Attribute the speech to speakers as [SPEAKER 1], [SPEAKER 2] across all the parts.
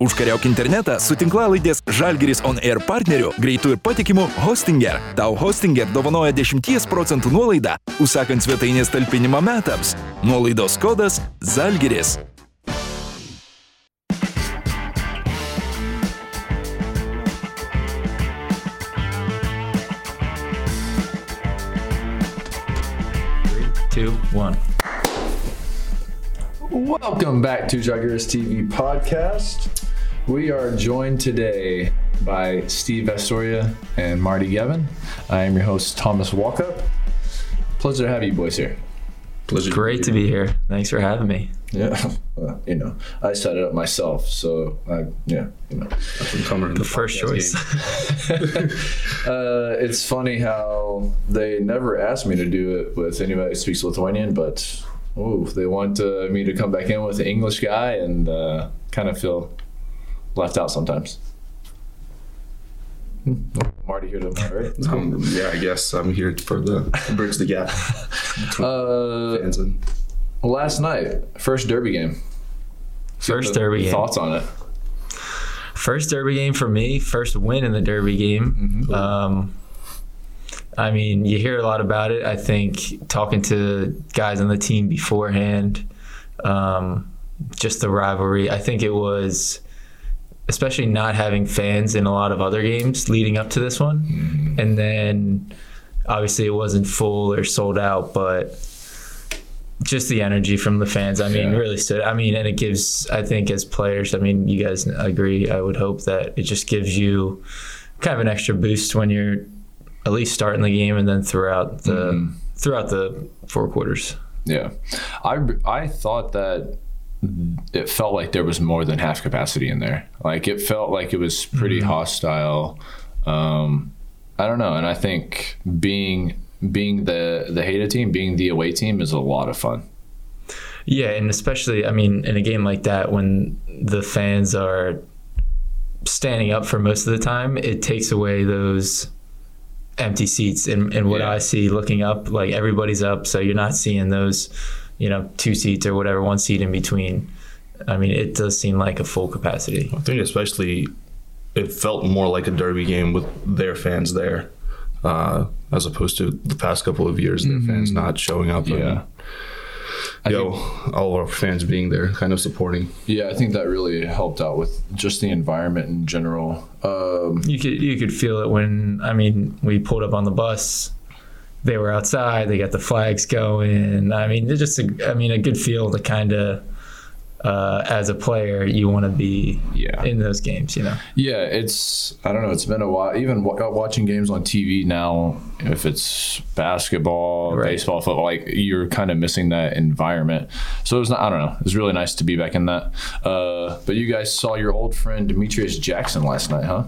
[SPEAKER 1] Užkariauk internetą su tinklalaidės Žalgiris On Air partneriu greitų ir patikimų Hostinger. Tau Hostinger dovanoja 10 procentų nuolaidą, užsakant svetainės talpinimą metams. Nuolaidos kodas Žalgiris.
[SPEAKER 2] two, one.
[SPEAKER 3] Welcome back to Jaguars TV podcast. We are joined today by Steve Astoria and Marty Gavin. I am your host, Thomas Walkup. Pleasure to have you boys here. Pleasure.
[SPEAKER 2] Great to be here. Thanks for having me.
[SPEAKER 3] Yeah. Well, you know, I set it up myself, so I yeah. You know,
[SPEAKER 2] The first choice.
[SPEAKER 3] uh, it's funny how they never asked me to do it with anybody who speaks Lithuanian, but oh, they want uh, me to come back in with an English guy, and uh, kind of feel left out sometimes. Hmm. Marty here to right?
[SPEAKER 4] Um, yeah, I guess I'm here for the to bridge the gap.
[SPEAKER 3] Uh,
[SPEAKER 4] Fans and-
[SPEAKER 3] last night, first derby game.
[SPEAKER 2] First derby game.
[SPEAKER 3] Thoughts on it?
[SPEAKER 2] First derby game for me. First win in the derby game. Um, I mean, you hear a lot about it. I think talking to guys on the team beforehand, um, just the rivalry. I think it was, especially not having fans in a lot of other games leading up to this one, and then obviously it wasn't full or sold out, but just the energy from the fans. I mean,
[SPEAKER 3] Yeah.
[SPEAKER 2] really stood. I mean, and it gives. I think as players, I mean, you guys agree. I would hope that it just gives you kind of an extra boost when you're at least starting the game and then throughout the throughout the four quarters.
[SPEAKER 3] Yeah, I I thought that it felt like there was more than half capacity in there. Like it felt like it was pretty hostile. Um, I don't know, and I think being being the the Haida team, being the away team, is a lot of fun.
[SPEAKER 2] Yeah, and especially, I mean, in a game like that, when the fans are standing up for most of the time, it takes away those empty seats. And, and what
[SPEAKER 3] Yeah.
[SPEAKER 2] I see looking up, like everybody's up, so you're not seeing those, you know, two seats or whatever, one seat in between. I mean, it does seem like a full capacity.
[SPEAKER 4] I think especially it felt more like a derby game with their fans there, uh, as opposed to the past couple of years, their fans not showing up.
[SPEAKER 3] Yeah.
[SPEAKER 4] and, yo, all of our fans being there, kind of supporting.
[SPEAKER 3] Yeah, I think that really helped out with just the environment in general. Um,
[SPEAKER 2] You could you could feel it when I mean we pulled up on the bus. They were outside. They got the flags going. I mean, it's just a, I mean a good feel to kind of uh, as a player you want to be
[SPEAKER 3] Yeah.
[SPEAKER 2] in those games. You know,
[SPEAKER 3] Yeah, it's I don't know. It's been a while. Even w- watching games on TV now, if it's basketball,
[SPEAKER 2] Right.
[SPEAKER 3] baseball, football, like you're kind of missing that environment. So it was not. I don't know. It was really nice to be back in that. Uh, but you guys saw your old friend Demetrius Jackson last night, huh?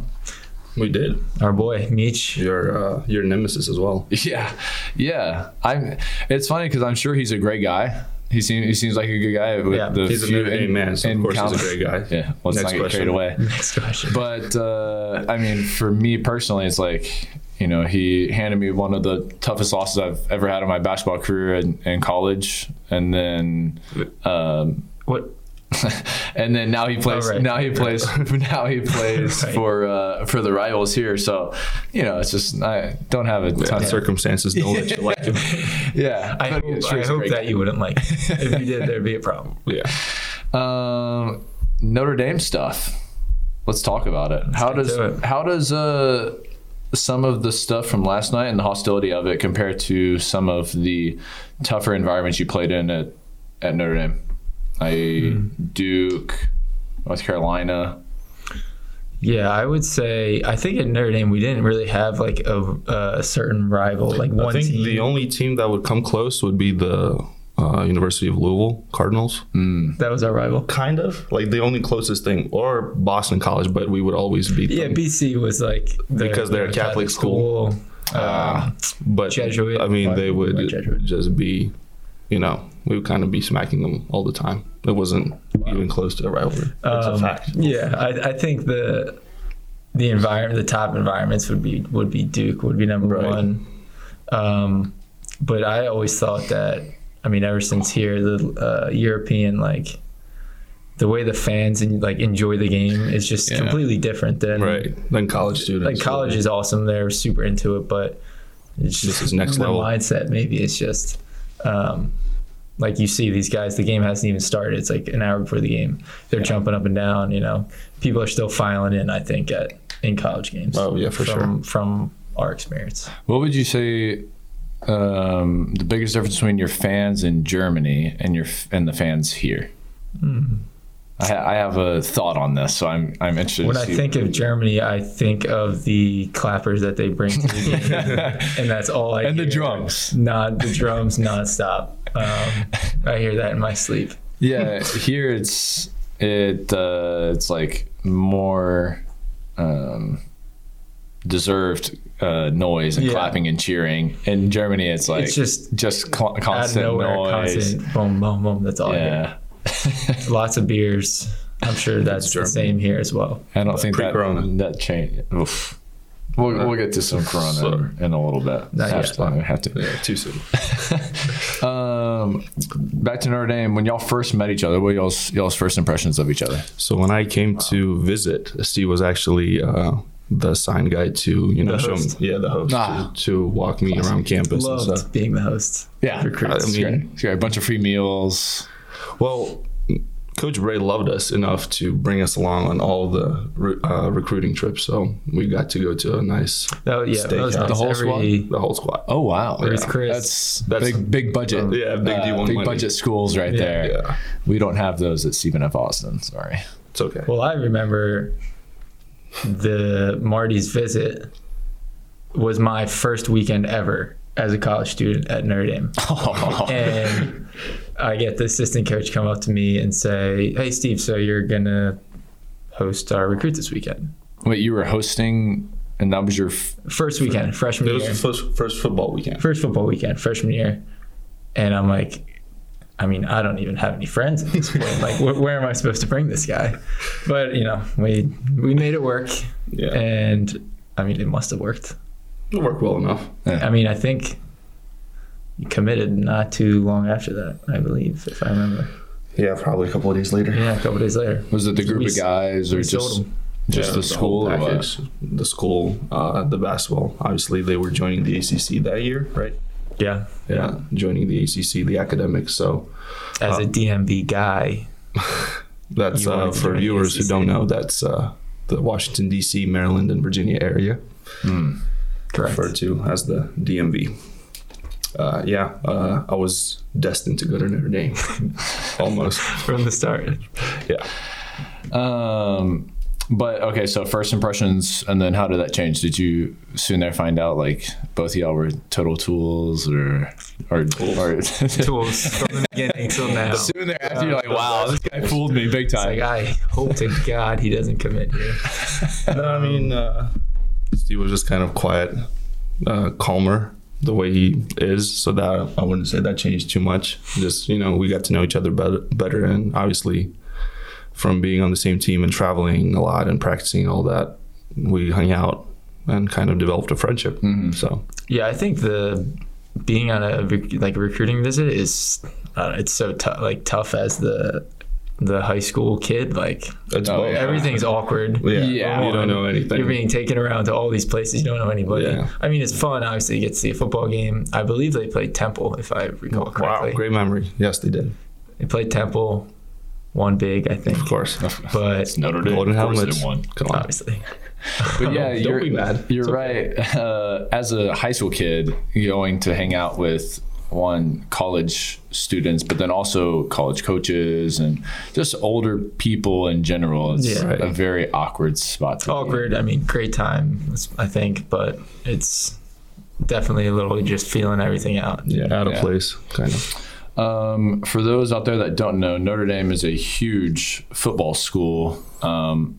[SPEAKER 4] We did.
[SPEAKER 2] our boy Meech.
[SPEAKER 4] Your uh, your nemesis as well.
[SPEAKER 3] Yeah, yeah. I'm. It's funny because I'm sure he's a great guy. He seems he seems like a good guy. With
[SPEAKER 2] Yeah,
[SPEAKER 3] the
[SPEAKER 4] He's a
[SPEAKER 3] few
[SPEAKER 4] Notre Dame
[SPEAKER 3] en-
[SPEAKER 4] man, so of course
[SPEAKER 3] encounters-
[SPEAKER 4] he's a great guy.
[SPEAKER 3] Yeah, let's
[SPEAKER 4] Next
[SPEAKER 3] not get
[SPEAKER 4] question.
[SPEAKER 3] carried away.
[SPEAKER 2] Next question.
[SPEAKER 3] But uh, I mean, for me personally, it's like you know he handed me one of the toughest losses I've ever had in my basketball career in, in college, and then um,
[SPEAKER 2] What
[SPEAKER 3] and then now he plays
[SPEAKER 2] Oh, right.
[SPEAKER 3] now he plays now he plays
[SPEAKER 2] Right.
[SPEAKER 3] for uh, for the rivals here. So you know, it's just I don't have a ton. of
[SPEAKER 4] Circumstances don't let you like him.
[SPEAKER 3] Yeah,
[SPEAKER 2] I hope, I hope that you wouldn't like. it. If you did, there'd be a problem.
[SPEAKER 4] Yeah.
[SPEAKER 3] Um, Notre Dame stuff. Let's talk about it. how
[SPEAKER 2] get
[SPEAKER 3] does
[SPEAKER 2] to it.
[SPEAKER 3] how does uh some of the stuff from last night and the hostility of it compare to some of the tougher environments you played in at, at Notre Dame? I
[SPEAKER 2] Hmm.
[SPEAKER 3] Duke, North Carolina.
[SPEAKER 2] Yeah, I would say I think at Notre Dame we didn't really have like a, a certain rival, like one
[SPEAKER 4] I think
[SPEAKER 2] team.
[SPEAKER 4] the only team that would come close would be the uh, University of Louisville Cardinals.
[SPEAKER 2] that was our rival.
[SPEAKER 4] Kind of like the only closest thing, or Boston College, but we would always beat
[SPEAKER 2] Yeah,
[SPEAKER 4] them.
[SPEAKER 2] BC was like the-
[SPEAKER 4] Because they're a Catholic Uh,
[SPEAKER 2] Um,
[SPEAKER 4] but
[SPEAKER 2] Jesuit.
[SPEAKER 4] I mean, they would
[SPEAKER 2] Right, Jesuit.
[SPEAKER 4] just be, you know, we would kind of be smacking them all the time. It wasn't even close to a rivalry. That's
[SPEAKER 2] um, Yeah, I, I think the the environment, the top environments would be would be Duke would be number
[SPEAKER 4] Right.
[SPEAKER 2] one. Um, but I always thought that I mean, ever since here, the uh, European like the way the fans and like enjoy the game is just
[SPEAKER 3] Yeah.
[SPEAKER 2] completely different than
[SPEAKER 4] right? Then college students.
[SPEAKER 2] like college is awesome. They're super into it, but it's just
[SPEAKER 4] is next
[SPEAKER 2] the
[SPEAKER 4] level.
[SPEAKER 2] mindset. Maybe it's just um, like you see these guys. The game hasn't even started. It's like an hour before the game. They're jumping up and down. You know, people are still filing in. I think at in college games.
[SPEAKER 4] Oh, yeah, for
[SPEAKER 2] from, sure. From our experience,
[SPEAKER 3] What would you say um, the biggest difference between your fans in Germany and your f- and the fans here?
[SPEAKER 2] Hmm.
[SPEAKER 3] I, ha- I have a thought on this, so I'm I'm interested.
[SPEAKER 2] when
[SPEAKER 3] to
[SPEAKER 2] I
[SPEAKER 3] see-
[SPEAKER 2] think of Germany, I think of the clappers that they bring to the game, and that's all I
[SPEAKER 3] and the
[SPEAKER 2] hear.
[SPEAKER 3] drums.
[SPEAKER 2] Not the drums nonstop. Um, I hear that in my sleep.
[SPEAKER 3] Yeah, here it's it uh, it's like more um, deserved uh, noise and
[SPEAKER 2] Yeah.
[SPEAKER 3] clapping and cheering. In Germany, it's like
[SPEAKER 2] It's just
[SPEAKER 3] just cl-
[SPEAKER 2] out of
[SPEAKER 3] constant
[SPEAKER 2] nowhere,
[SPEAKER 3] noise.
[SPEAKER 2] constant boom, boom, boom. That's all. I
[SPEAKER 3] Yeah,
[SPEAKER 2] hear. Lots of beers. I'm sure that's the
[SPEAKER 4] German.
[SPEAKER 2] same here as well.
[SPEAKER 3] I don't think that
[SPEAKER 4] Pre-corona.
[SPEAKER 3] that change. Oof. We'll, we'll get to some corona
[SPEAKER 4] Sorry.
[SPEAKER 3] in a little bit.
[SPEAKER 2] Not
[SPEAKER 3] Have
[SPEAKER 2] yet.
[SPEAKER 3] to- have to.
[SPEAKER 4] Yeah, too soon.
[SPEAKER 3] Um, back to Notre Dame. When y'all first met each other, what were y'all's y'all's first impressions of each other?
[SPEAKER 4] So when I came to visit, Steve was actually uh, the sign guy to you know
[SPEAKER 2] The
[SPEAKER 4] show me,
[SPEAKER 2] host.
[SPEAKER 4] yeah the host
[SPEAKER 3] Ah.
[SPEAKER 4] to, to walk me around campus
[SPEAKER 2] Loved
[SPEAKER 4] and stuff.
[SPEAKER 2] being the host.
[SPEAKER 3] Yeah,
[SPEAKER 4] I
[SPEAKER 3] it's
[SPEAKER 4] mean-
[SPEAKER 3] great. It's great. A bunch of free meals.
[SPEAKER 4] Well, Coach Bray loved us enough to bring us along on all the re- uh, recruiting trips, so we got to go to a nice
[SPEAKER 2] Oh yeah, that was
[SPEAKER 4] Steakhouse.
[SPEAKER 2] nice.
[SPEAKER 3] The whole
[SPEAKER 2] Every,
[SPEAKER 4] the whole squad.
[SPEAKER 3] Oh wow,
[SPEAKER 2] Where's Chris?
[SPEAKER 3] That's,
[SPEAKER 4] That's-
[SPEAKER 3] big big budget. Uh,
[SPEAKER 4] Yeah, big D1
[SPEAKER 3] big
[SPEAKER 4] money.
[SPEAKER 3] budget schools right there.
[SPEAKER 4] yeah.
[SPEAKER 3] We don't have those at Stephen F. Austin. Sorry.
[SPEAKER 4] It's okay.
[SPEAKER 2] Well, I remember the Marty's visit was my first weekend ever as a college student at Notre Dame. and I get the assistant coach come up to me and say, "Hey, Steve, so you're gonna host our recruit this weekend?
[SPEAKER 3] Wait, you were hosting, and that was your f-
[SPEAKER 2] First weekend, freshman
[SPEAKER 4] it
[SPEAKER 2] year.
[SPEAKER 4] was the first, first football weekend.
[SPEAKER 2] first football weekend, freshman year, and I'm like, I mean, I don't even have any friends at this point. Like, where, where am I supposed to bring this guy? But you know, we we made it work,
[SPEAKER 4] Yeah.
[SPEAKER 2] and I mean, it must have worked.
[SPEAKER 4] It worked well enough.
[SPEAKER 2] I mean, I think you committed not too long after that, I believe, if I remember.
[SPEAKER 4] Yeah, probably a couple of days later.
[SPEAKER 2] Yeah, a couple days later.
[SPEAKER 3] was it the group
[SPEAKER 2] We
[SPEAKER 3] of
[SPEAKER 2] s-
[SPEAKER 3] guys or
[SPEAKER 2] we sold
[SPEAKER 3] just
[SPEAKER 2] 'em.
[SPEAKER 3] just the
[SPEAKER 4] Yeah, whole
[SPEAKER 3] school or what?
[SPEAKER 4] package. uh, The school, uh, the basketball. Obviously, they were joining the ACC that year, right?
[SPEAKER 2] Yeah,
[SPEAKER 4] Yeah, joining the ACC, the academics. So
[SPEAKER 2] as a DMV guy.
[SPEAKER 4] that's
[SPEAKER 2] You wanted to
[SPEAKER 4] uh, for
[SPEAKER 2] join
[SPEAKER 4] viewers who
[SPEAKER 2] ACC.
[SPEAKER 4] don't know. That's uh, the Washington D.C., Maryland, and Virginia area.
[SPEAKER 2] Correct.
[SPEAKER 4] referred to as the DMV. Uh, yeah, uh, I was destined to go to Notre Dame, almost.
[SPEAKER 2] From the start.
[SPEAKER 4] Yeah,
[SPEAKER 3] Um, but okay, so first impressions, and then how did that change? Did you soon there find out like both of y'all were total tools or or, or soon
[SPEAKER 2] Tools from the beginning till now.
[SPEAKER 3] thereafter you're like, wow, this guy fooled me big time.
[SPEAKER 2] Like, I hope to God he doesn't commit here.
[SPEAKER 4] no, I mean, uh, Steve was just kind of quiet, uh, calmer the way he is. So that I wouldn't say that changed too much. Just you know, we got to know each other better, better, and obviously, from being on the same team and traveling a lot and practicing all that, we hung out and kind of developed a friendship. So
[SPEAKER 2] Yeah, I think the being on a rec- like recruiting visit is uh, it's so tough. Like tough as the the high school kid, like
[SPEAKER 4] it's
[SPEAKER 3] Oh,
[SPEAKER 4] both.
[SPEAKER 3] yeah.
[SPEAKER 2] everything's awkward.
[SPEAKER 4] Yeah. Oh,
[SPEAKER 3] Yeah.
[SPEAKER 4] You don't know anything.
[SPEAKER 2] You're being taken around to all these places. You don't know anybody.
[SPEAKER 4] Yeah.
[SPEAKER 2] I mean, it's fun. Obviously, you get to see a football game. I believe they played Temple, if I recall correctly.
[SPEAKER 4] Wow, great memory. Yes, they did.
[SPEAKER 2] They played Temple, one big, I think.
[SPEAKER 4] Of course.
[SPEAKER 2] But
[SPEAKER 3] Notre Dame,
[SPEAKER 4] Golden
[SPEAKER 3] of course they
[SPEAKER 4] helmets.
[SPEAKER 3] won.
[SPEAKER 4] Come on.
[SPEAKER 2] obviously,
[SPEAKER 3] But yeah,
[SPEAKER 4] Don't
[SPEAKER 3] you're,
[SPEAKER 4] be mad.
[SPEAKER 3] You're right. Uh, as a high school kid, going to hang out with one college students, but then also college coaches and just older people in general. It's
[SPEAKER 2] Yeah.
[SPEAKER 4] Right.
[SPEAKER 3] a very awkward spot. To be.
[SPEAKER 4] Oh,
[SPEAKER 2] awkward. I mean, great time, I think, but it's definitely a little just feeling everything out.
[SPEAKER 4] Yeah, out of
[SPEAKER 3] Yeah.
[SPEAKER 4] place, kind of.
[SPEAKER 3] Um, for those out there that don't know, Notre Dame is a huge football school. Um,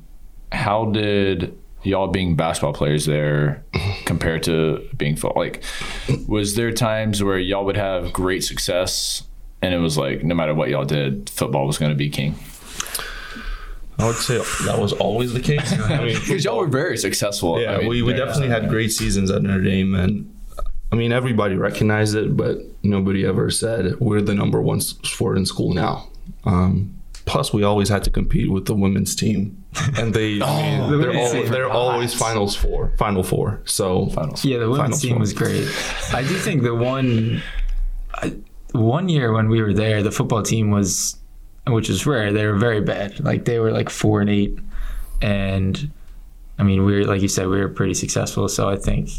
[SPEAKER 3] how did y'all being basketball players there compare to being football? Like, was there times where y'all would have great success and it was like no matter what y'all did, football was going to be king?
[SPEAKER 4] I would say that was always the case. I mean,
[SPEAKER 3] Because y'all were very successful.
[SPEAKER 4] yeah,
[SPEAKER 3] I mean,
[SPEAKER 4] we, we
[SPEAKER 3] yeah.
[SPEAKER 4] definitely had great seasons at Notre Dame, and I mean everybody recognized it, but nobody ever said we're the number one s- sport in school now. Um, Plus, we always had to compete with the women's team, and they I mean, they're,
[SPEAKER 2] women's
[SPEAKER 4] al-
[SPEAKER 2] team.
[SPEAKER 4] they're always finals four, final four. So
[SPEAKER 3] Finals.
[SPEAKER 2] Yeah, the
[SPEAKER 4] Final
[SPEAKER 2] women's team
[SPEAKER 4] four.
[SPEAKER 2] was great. I do think the one I- one year when we were there, the football team was, which is rare. They were very bad. Like they were like four and eight, and I mean we were like you said we were pretty successful. So I think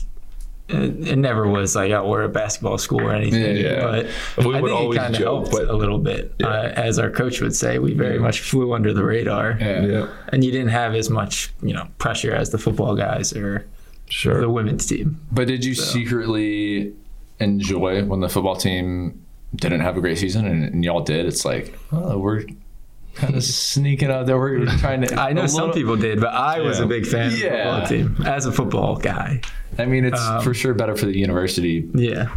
[SPEAKER 2] it, it never was like oh we're a basketball school or anything.
[SPEAKER 3] Yeah, yeah.
[SPEAKER 2] But
[SPEAKER 4] We
[SPEAKER 2] I
[SPEAKER 4] would
[SPEAKER 2] think it
[SPEAKER 4] always
[SPEAKER 2] kind of
[SPEAKER 4] joke,
[SPEAKER 2] helped
[SPEAKER 4] but-
[SPEAKER 2] a little bit, uh, as our coach would say. We very much flew under the radar,
[SPEAKER 3] Yeah.
[SPEAKER 4] yeah,
[SPEAKER 2] and you didn't have as much you know pressure as the football guys or
[SPEAKER 4] sure.
[SPEAKER 2] the women's team.
[SPEAKER 3] But did you secretly enjoy when the football team didn't have a great season and, and y'all did? It's like, oh, we're kind of sneaking out there. We're trying to.
[SPEAKER 2] I know
[SPEAKER 3] a
[SPEAKER 2] some
[SPEAKER 3] little-
[SPEAKER 2] people did, but I was
[SPEAKER 4] Yeah.
[SPEAKER 2] a big fan
[SPEAKER 3] Yeah.
[SPEAKER 2] of the football team as a football guy.
[SPEAKER 3] I mean, it's
[SPEAKER 2] um,
[SPEAKER 3] for sure better for the university,
[SPEAKER 2] Yeah.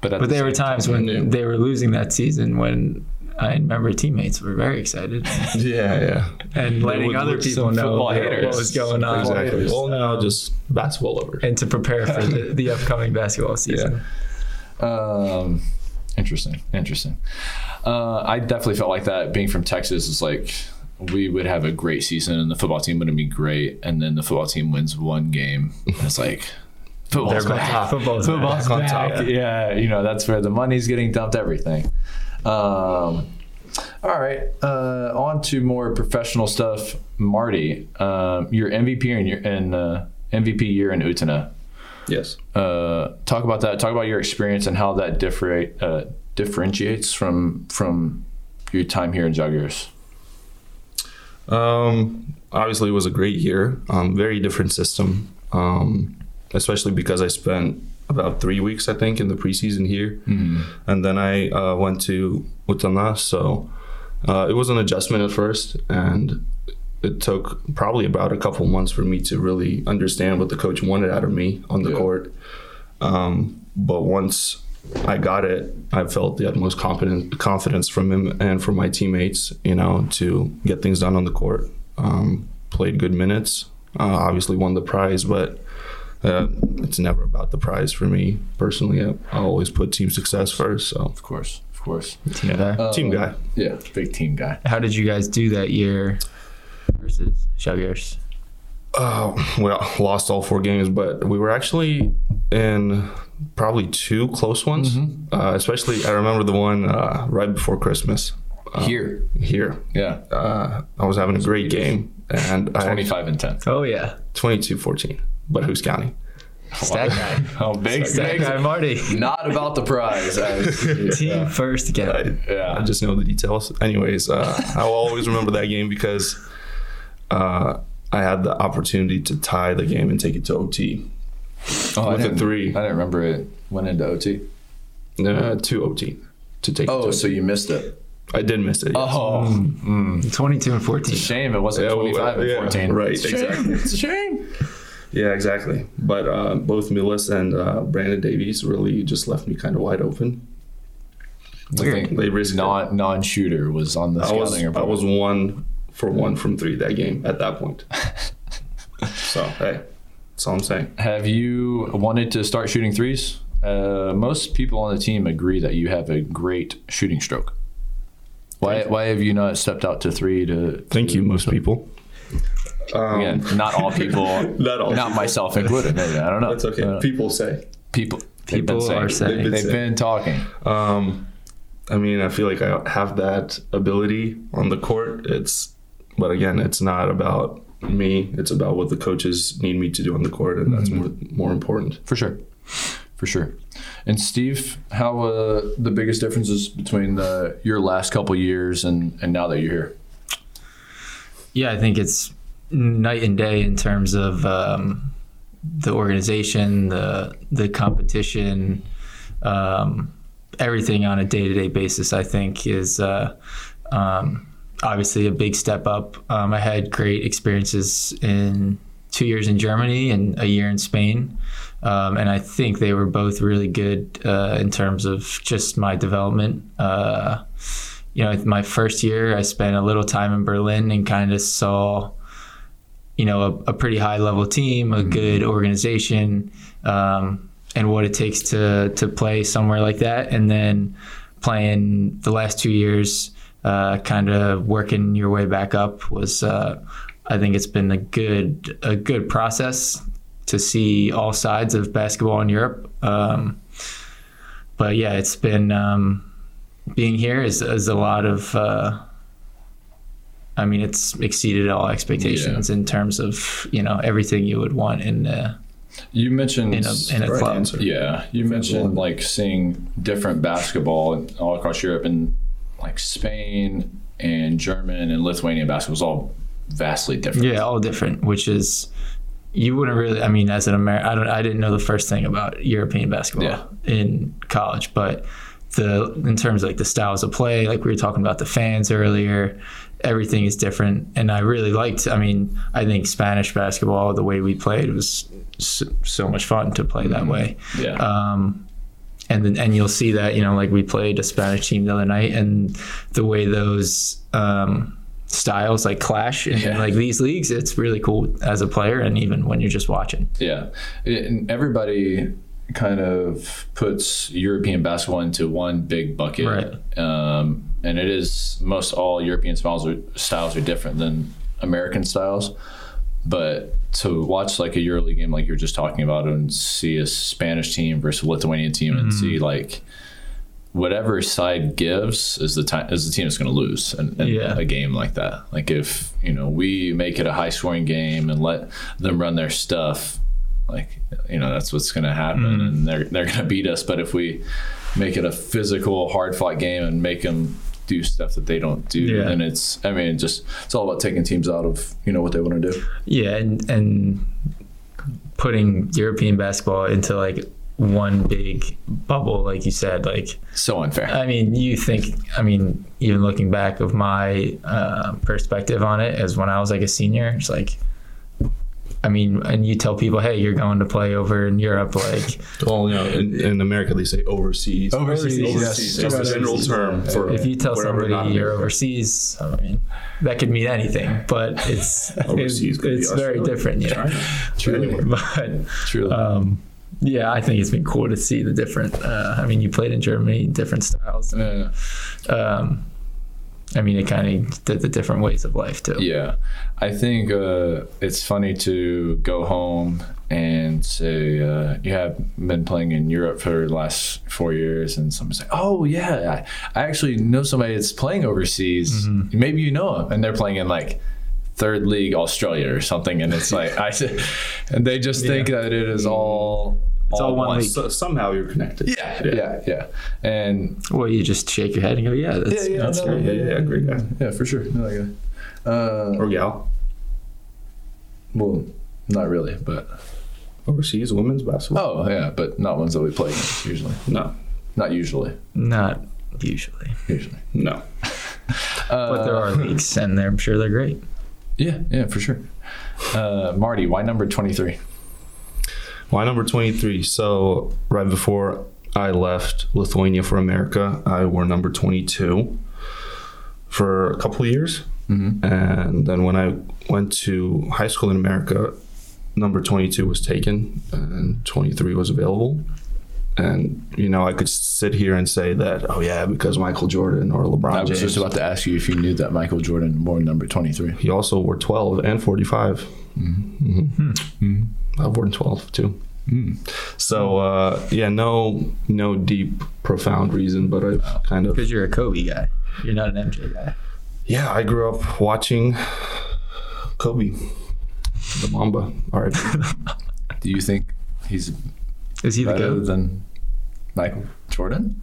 [SPEAKER 3] but at
[SPEAKER 2] But
[SPEAKER 3] the
[SPEAKER 2] there were
[SPEAKER 3] same
[SPEAKER 2] times when
[SPEAKER 4] yeah.
[SPEAKER 2] they were losing that season when I remember teammates were very excited
[SPEAKER 4] yeah, yeah,
[SPEAKER 2] and letting
[SPEAKER 4] would
[SPEAKER 2] other
[SPEAKER 4] look
[SPEAKER 2] people
[SPEAKER 3] some
[SPEAKER 2] know
[SPEAKER 3] football
[SPEAKER 2] what
[SPEAKER 3] haters.
[SPEAKER 2] was going on
[SPEAKER 4] exactly.
[SPEAKER 3] Exactly.
[SPEAKER 4] Well, now just basketball over.
[SPEAKER 2] and to prepare for the, the upcoming basketball season.
[SPEAKER 3] Um, interesting, interesting. Uh, I definitely felt like that. Being from Texas is like we would have a great season, and the football team wouldn't be great, and then the football team wins one game, and it's like football's
[SPEAKER 2] They're
[SPEAKER 3] back.
[SPEAKER 2] back. Football's back.
[SPEAKER 3] Football's
[SPEAKER 4] Back on
[SPEAKER 3] back.
[SPEAKER 4] top.
[SPEAKER 3] Yeah, you know that's where the money's getting dumped. Everything. Um, all right, uh, on to more professional stuff. Marty, um, your MVP and your and uh, MVP year in Utana
[SPEAKER 4] Yes.
[SPEAKER 3] uh, talk about that. Talk about your experience and how that differate uh, differentiates from from your time here in Jaguars.
[SPEAKER 4] Um, obviously, it was a great year. Um, very different system, um, especially because I spent about three weeks, I think, in the preseason here, and then I uh, went to Utana. So uh, it was an adjustment at first, and it took probably about a couple months for me to really understand what the coach wanted out of me on the
[SPEAKER 3] Yeah.
[SPEAKER 4] court. Um, but once I got it, I felt the utmost confidence confidence from him and from my teammates, you know, to get things done on the court. Um, played good minutes, uh, obviously won the prize, but uh, it's never about the prize for me personally. I, I always put team success first, so
[SPEAKER 3] Of course, of course.
[SPEAKER 2] Yeah.
[SPEAKER 4] team guy.
[SPEAKER 3] Yeah, big team guy.
[SPEAKER 2] How did you guys do that year versus Jaguars?
[SPEAKER 4] Uh, well, lost all four games, but we were actually in probably two close ones. Uh, especially, I remember the one uh, right before Christmas
[SPEAKER 3] here,
[SPEAKER 4] here.
[SPEAKER 3] Uh-huh. yeah,
[SPEAKER 4] uh, I was having a great game and I
[SPEAKER 3] twenty five and ten.
[SPEAKER 2] Oh, yeah.
[SPEAKER 4] 22 14, but who's counting?
[SPEAKER 2] Stack guy.
[SPEAKER 3] Oh, big,
[SPEAKER 2] Stack
[SPEAKER 3] big
[SPEAKER 2] guy Marty.
[SPEAKER 3] Not about the prize. I was-
[SPEAKER 2] Team first again.
[SPEAKER 4] I
[SPEAKER 3] yeah,
[SPEAKER 4] just know the details. Anyways, uh, I'll always remember that game because uh, I had the opportunity to tie the game and take it to OT.
[SPEAKER 3] oh,
[SPEAKER 4] With a
[SPEAKER 3] didn't-
[SPEAKER 4] three.
[SPEAKER 3] I didn't remember it went into OT.
[SPEAKER 4] Uh, to OT to take it.
[SPEAKER 3] Oh,
[SPEAKER 4] To
[SPEAKER 3] so you missed it.
[SPEAKER 4] I did miss it. yes.
[SPEAKER 3] Oh,
[SPEAKER 2] 22 and 14.
[SPEAKER 3] shame it wasn't
[SPEAKER 4] Yeah, well,
[SPEAKER 3] twenty five and
[SPEAKER 4] yeah,
[SPEAKER 3] fourteen.
[SPEAKER 4] right,
[SPEAKER 3] It's a shame.
[SPEAKER 4] exactly.
[SPEAKER 3] It's a shame.
[SPEAKER 4] Yeah, exactly. But uh, both Milas and uh, Brandon Davies really just left me kind of wide open.
[SPEAKER 3] I think
[SPEAKER 4] They risked it.
[SPEAKER 3] non non shooter was on the
[SPEAKER 4] I
[SPEAKER 3] scouting
[SPEAKER 4] was, I
[SPEAKER 3] report.
[SPEAKER 4] was one for one from three that game at that point. so, hey, that's all I'm saying.
[SPEAKER 3] Have you wanted to start shooting threes? Uh, most people on the team agree that you have a great shooting stroke. Why, why have you not stepped out to three to
[SPEAKER 4] Thank you, most people. Um,
[SPEAKER 3] again? Not all people,
[SPEAKER 4] Not all people.
[SPEAKER 3] myself included. Maybe I don't know.
[SPEAKER 4] That's okay.
[SPEAKER 3] I don't know.
[SPEAKER 4] People say.
[SPEAKER 3] People, they've been
[SPEAKER 2] People are saying.
[SPEAKER 3] they've,
[SPEAKER 4] They've been
[SPEAKER 3] been talking.
[SPEAKER 4] Um, I mean, I feel like I have that ability on the court. It's, but again, it's not about me. It's about what the coaches need me to do on the court, and that's more more important.
[SPEAKER 3] for sure for sure and steve how uh, the biggest differences between the, your last couple years and, and now that you're here
[SPEAKER 2] Yeah, I think it's night and day in terms of um, the organization, the the competition, um, everything on a day to day basis. I think is uh, um, obviously a big step up. Um, I had great experiences in two years in Germany and a year in Spain. Um, and I think they were both really good uh, in terms of just my development. Uh, you know, my first year, I spent a little time in Berlin and kind of saw, you know, a, a pretty high level team, a good organization, um, and what it takes to to play somewhere like that. And then playing the last two years uh, kind of working your way back up was. Uh, I think it's been a good a good process to see all sides of basketball in Europe. Um, but yeah, it's been um, being here is, is a lot of. Uh, I mean, it's exceeded all expectations in terms of you know everything you would want in uh,
[SPEAKER 3] You mentioned
[SPEAKER 2] in a in a club.
[SPEAKER 4] answer.
[SPEAKER 3] Yeah, you mentioned like seeing different basketball all across Europe and like Spain and German and Lithuanian basketball is all vastly different.
[SPEAKER 2] Yeah, all different, which is you wouldn't really. I mean, as an American, I don't. I didn't know the first thing about European basketball
[SPEAKER 3] Yeah.
[SPEAKER 2] in college, but the in terms of like the styles of play, like we were talking about the fans earlier, everything is different, and I really liked. I mean, I think Spanish basketball, the way we played, was so, so much fun to play
[SPEAKER 3] Mm-hmm.
[SPEAKER 2] that way.
[SPEAKER 3] Yeah.
[SPEAKER 2] Um, and then, and you'll see that you know like we played a Spanish team the other night, and the way those um, styles like clash in
[SPEAKER 3] Yeah.
[SPEAKER 2] like these leagues, it's really cool as a player, and even when you're just watching.
[SPEAKER 3] Yeah, It- and everybody kind of puts European basketball into one big bucket,
[SPEAKER 2] Right.
[SPEAKER 3] Um, and it is most all European styles are, styles are different than American styles. But to watch like a EuroLeague game, like you were just talking about, and see a Spanish team versus a Lithuanian team,
[SPEAKER 2] Mm-hmm.
[SPEAKER 3] and see like whatever side gives is the time is the team that's going to lose in, in
[SPEAKER 2] Yeah.
[SPEAKER 3] a game like that. Like if you know we make it a high scoring game and let them run their stuff, like you know that's what's going to happen, and they're they're going to beat us. But if we make it a physical, hard fought game and make them do stuff that they don't do,
[SPEAKER 2] Yeah.
[SPEAKER 3] then it's I mean just it's all about taking teams out of you know what they want to do.
[SPEAKER 2] Yeah, and and putting European basketball into like one big bubble, like you said, like
[SPEAKER 3] So unfair.
[SPEAKER 2] I mean, you think, I mean, even looking back of my uh, perspective on it as when I was like a senior, it's like, I mean, and you tell people, hey, you're going to play over in Europe, like,
[SPEAKER 4] Well, you know, in, in America they say overseas.
[SPEAKER 3] Overseas,
[SPEAKER 4] Overseas,
[SPEAKER 3] yes.
[SPEAKER 4] just a general term for
[SPEAKER 2] if you tell
[SPEAKER 4] wherever not
[SPEAKER 2] somebody
[SPEAKER 4] in
[SPEAKER 2] you're
[SPEAKER 4] America.
[SPEAKER 2] overseas, I mean, that could mean anything, but it's it's,
[SPEAKER 4] Overseas could be
[SPEAKER 2] it's very
[SPEAKER 4] Australia,
[SPEAKER 2] different, you know.
[SPEAKER 4] Anywhere.
[SPEAKER 2] But
[SPEAKER 3] Truly.
[SPEAKER 2] um, yeah, I think it's been cool to see the different. Uh, I mean, you played in Germany, different styles.
[SPEAKER 3] Yeah.
[SPEAKER 2] Um, I mean, it kind of the, the different ways of life too.
[SPEAKER 3] Yeah, I think uh, it's funny to go home and say uh, you have been playing in Europe for the last four years, and someone's like, "Oh yeah, I, I actually know somebody that's playing overseas. Maybe you know them, and they're playing in like." Third league Australia or something, and it's like I, said- and they just think that it is all it's
[SPEAKER 2] all one league.
[SPEAKER 4] So, somehow you're connected.
[SPEAKER 3] Yeah, yeah, yeah, and
[SPEAKER 2] Well, you just shake your head and go, yeah, that's,
[SPEAKER 3] yeah,
[SPEAKER 2] that's
[SPEAKER 3] no,
[SPEAKER 2] great.
[SPEAKER 4] Yeah, yeah, great guy
[SPEAKER 3] yeah, for sure. No, like, uh,
[SPEAKER 4] or gal.
[SPEAKER 3] well, not really, but
[SPEAKER 4] Overseas women's basketball?
[SPEAKER 3] Oh yeah, but not ones that we play against usually.
[SPEAKER 4] No,
[SPEAKER 3] Not usually.
[SPEAKER 2] Not usually,
[SPEAKER 3] Usually.
[SPEAKER 4] no.
[SPEAKER 2] but there are leagues, and they're, I'm sure they're great.
[SPEAKER 3] Yeah, yeah, for sure. Uh, Marty, why number twenty three?
[SPEAKER 4] Why number 23? So, right before I left Lithuania for America, I wore number 22 for a couple of years.
[SPEAKER 3] Mm-hmm.
[SPEAKER 4] And then when I went to high school in America, number 22 was taken and 23 was available. And, you know, I could sit here and say that, oh, yeah, because Michael Jordan or
[SPEAKER 3] I
[SPEAKER 4] LeBron
[SPEAKER 3] was
[SPEAKER 4] James.
[SPEAKER 3] just about to ask you if you knew that Michael Jordan wore number twenty three.
[SPEAKER 4] he also wore 12 and 45. Mhm. I've worn 12 too. Mm-hmm. So uh, yeah, no, no deep, profound reason, but I've kind of
[SPEAKER 2] Because you're a Kobe guy, you're not an MJ guy.
[SPEAKER 4] yeah. I grew up watching Kobe, the Mamba. All right,
[SPEAKER 3] Do you think he's
[SPEAKER 2] Is he the
[SPEAKER 3] better
[SPEAKER 2] goat?
[SPEAKER 3] than Michael Jordan?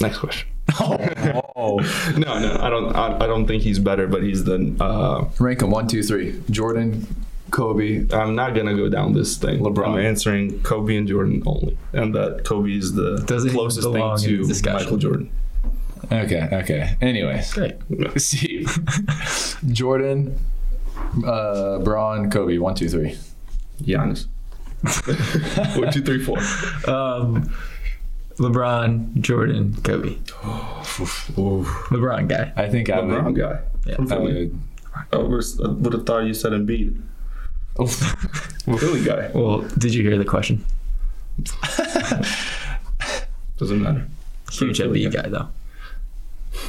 [SPEAKER 4] next question.
[SPEAKER 3] Oh,
[SPEAKER 4] No, no, I don't. I, I don't think he's better, but he's the. Uh,
[SPEAKER 3] rank him one, two, three. Jordan, Kobe.
[SPEAKER 4] I'm not gonna go down this thing.
[SPEAKER 3] LeBron.
[SPEAKER 4] I'm answering Kobe and Jordan only, and that Kobe is the
[SPEAKER 2] Doesn't even
[SPEAKER 4] closest thing
[SPEAKER 2] belong in the
[SPEAKER 4] to
[SPEAKER 2] discussion.
[SPEAKER 4] Michael Jordan.
[SPEAKER 3] Okay, okay. Anyways,
[SPEAKER 2] Great.
[SPEAKER 3] Steve, Jordan, uh, Braun, Kobe. One, two, three.
[SPEAKER 4] Giannis. One, two, three, four.
[SPEAKER 2] Um, LeBron, Jordan, Kobe. LeBron guy.
[SPEAKER 3] I think I would-
[SPEAKER 4] LeBron guy.
[SPEAKER 2] Yeah.
[SPEAKER 4] From
[SPEAKER 3] I
[SPEAKER 4] Philly.
[SPEAKER 3] would.
[SPEAKER 4] I would have thought you said Embiid. Philly guy.
[SPEAKER 2] Well, did you hear the question?
[SPEAKER 4] Doesn't matter.
[SPEAKER 2] Huge
[SPEAKER 4] Philly
[SPEAKER 2] MB guy though.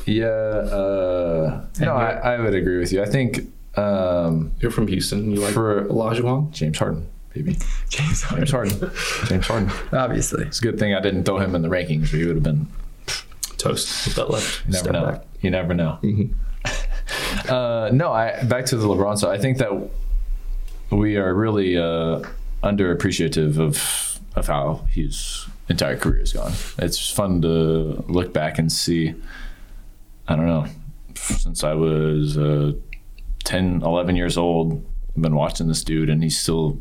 [SPEAKER 3] Yeah. Uh, no, I, I would agree with you. I think um,
[SPEAKER 4] You're from Houston. You like
[SPEAKER 3] For-
[SPEAKER 4] Olajuwon?
[SPEAKER 3] James Harden, baby.
[SPEAKER 2] James
[SPEAKER 3] James
[SPEAKER 2] Harden,
[SPEAKER 3] Harden. James Harden.
[SPEAKER 2] obviously.
[SPEAKER 3] It's a good thing I didn't throw him in the rankings, or he would have been.
[SPEAKER 4] Toast with that left
[SPEAKER 3] Never
[SPEAKER 4] step
[SPEAKER 3] know.
[SPEAKER 4] back. Mm-hmm.
[SPEAKER 3] You never know. uh, no, I back to the LeBron side. I think that we are really uh, underappreciative of of how his entire career has gone. It's fun to look back and see. I don't know. Since I was uh, 10, 11 years old, I've been watching this dude, and he's still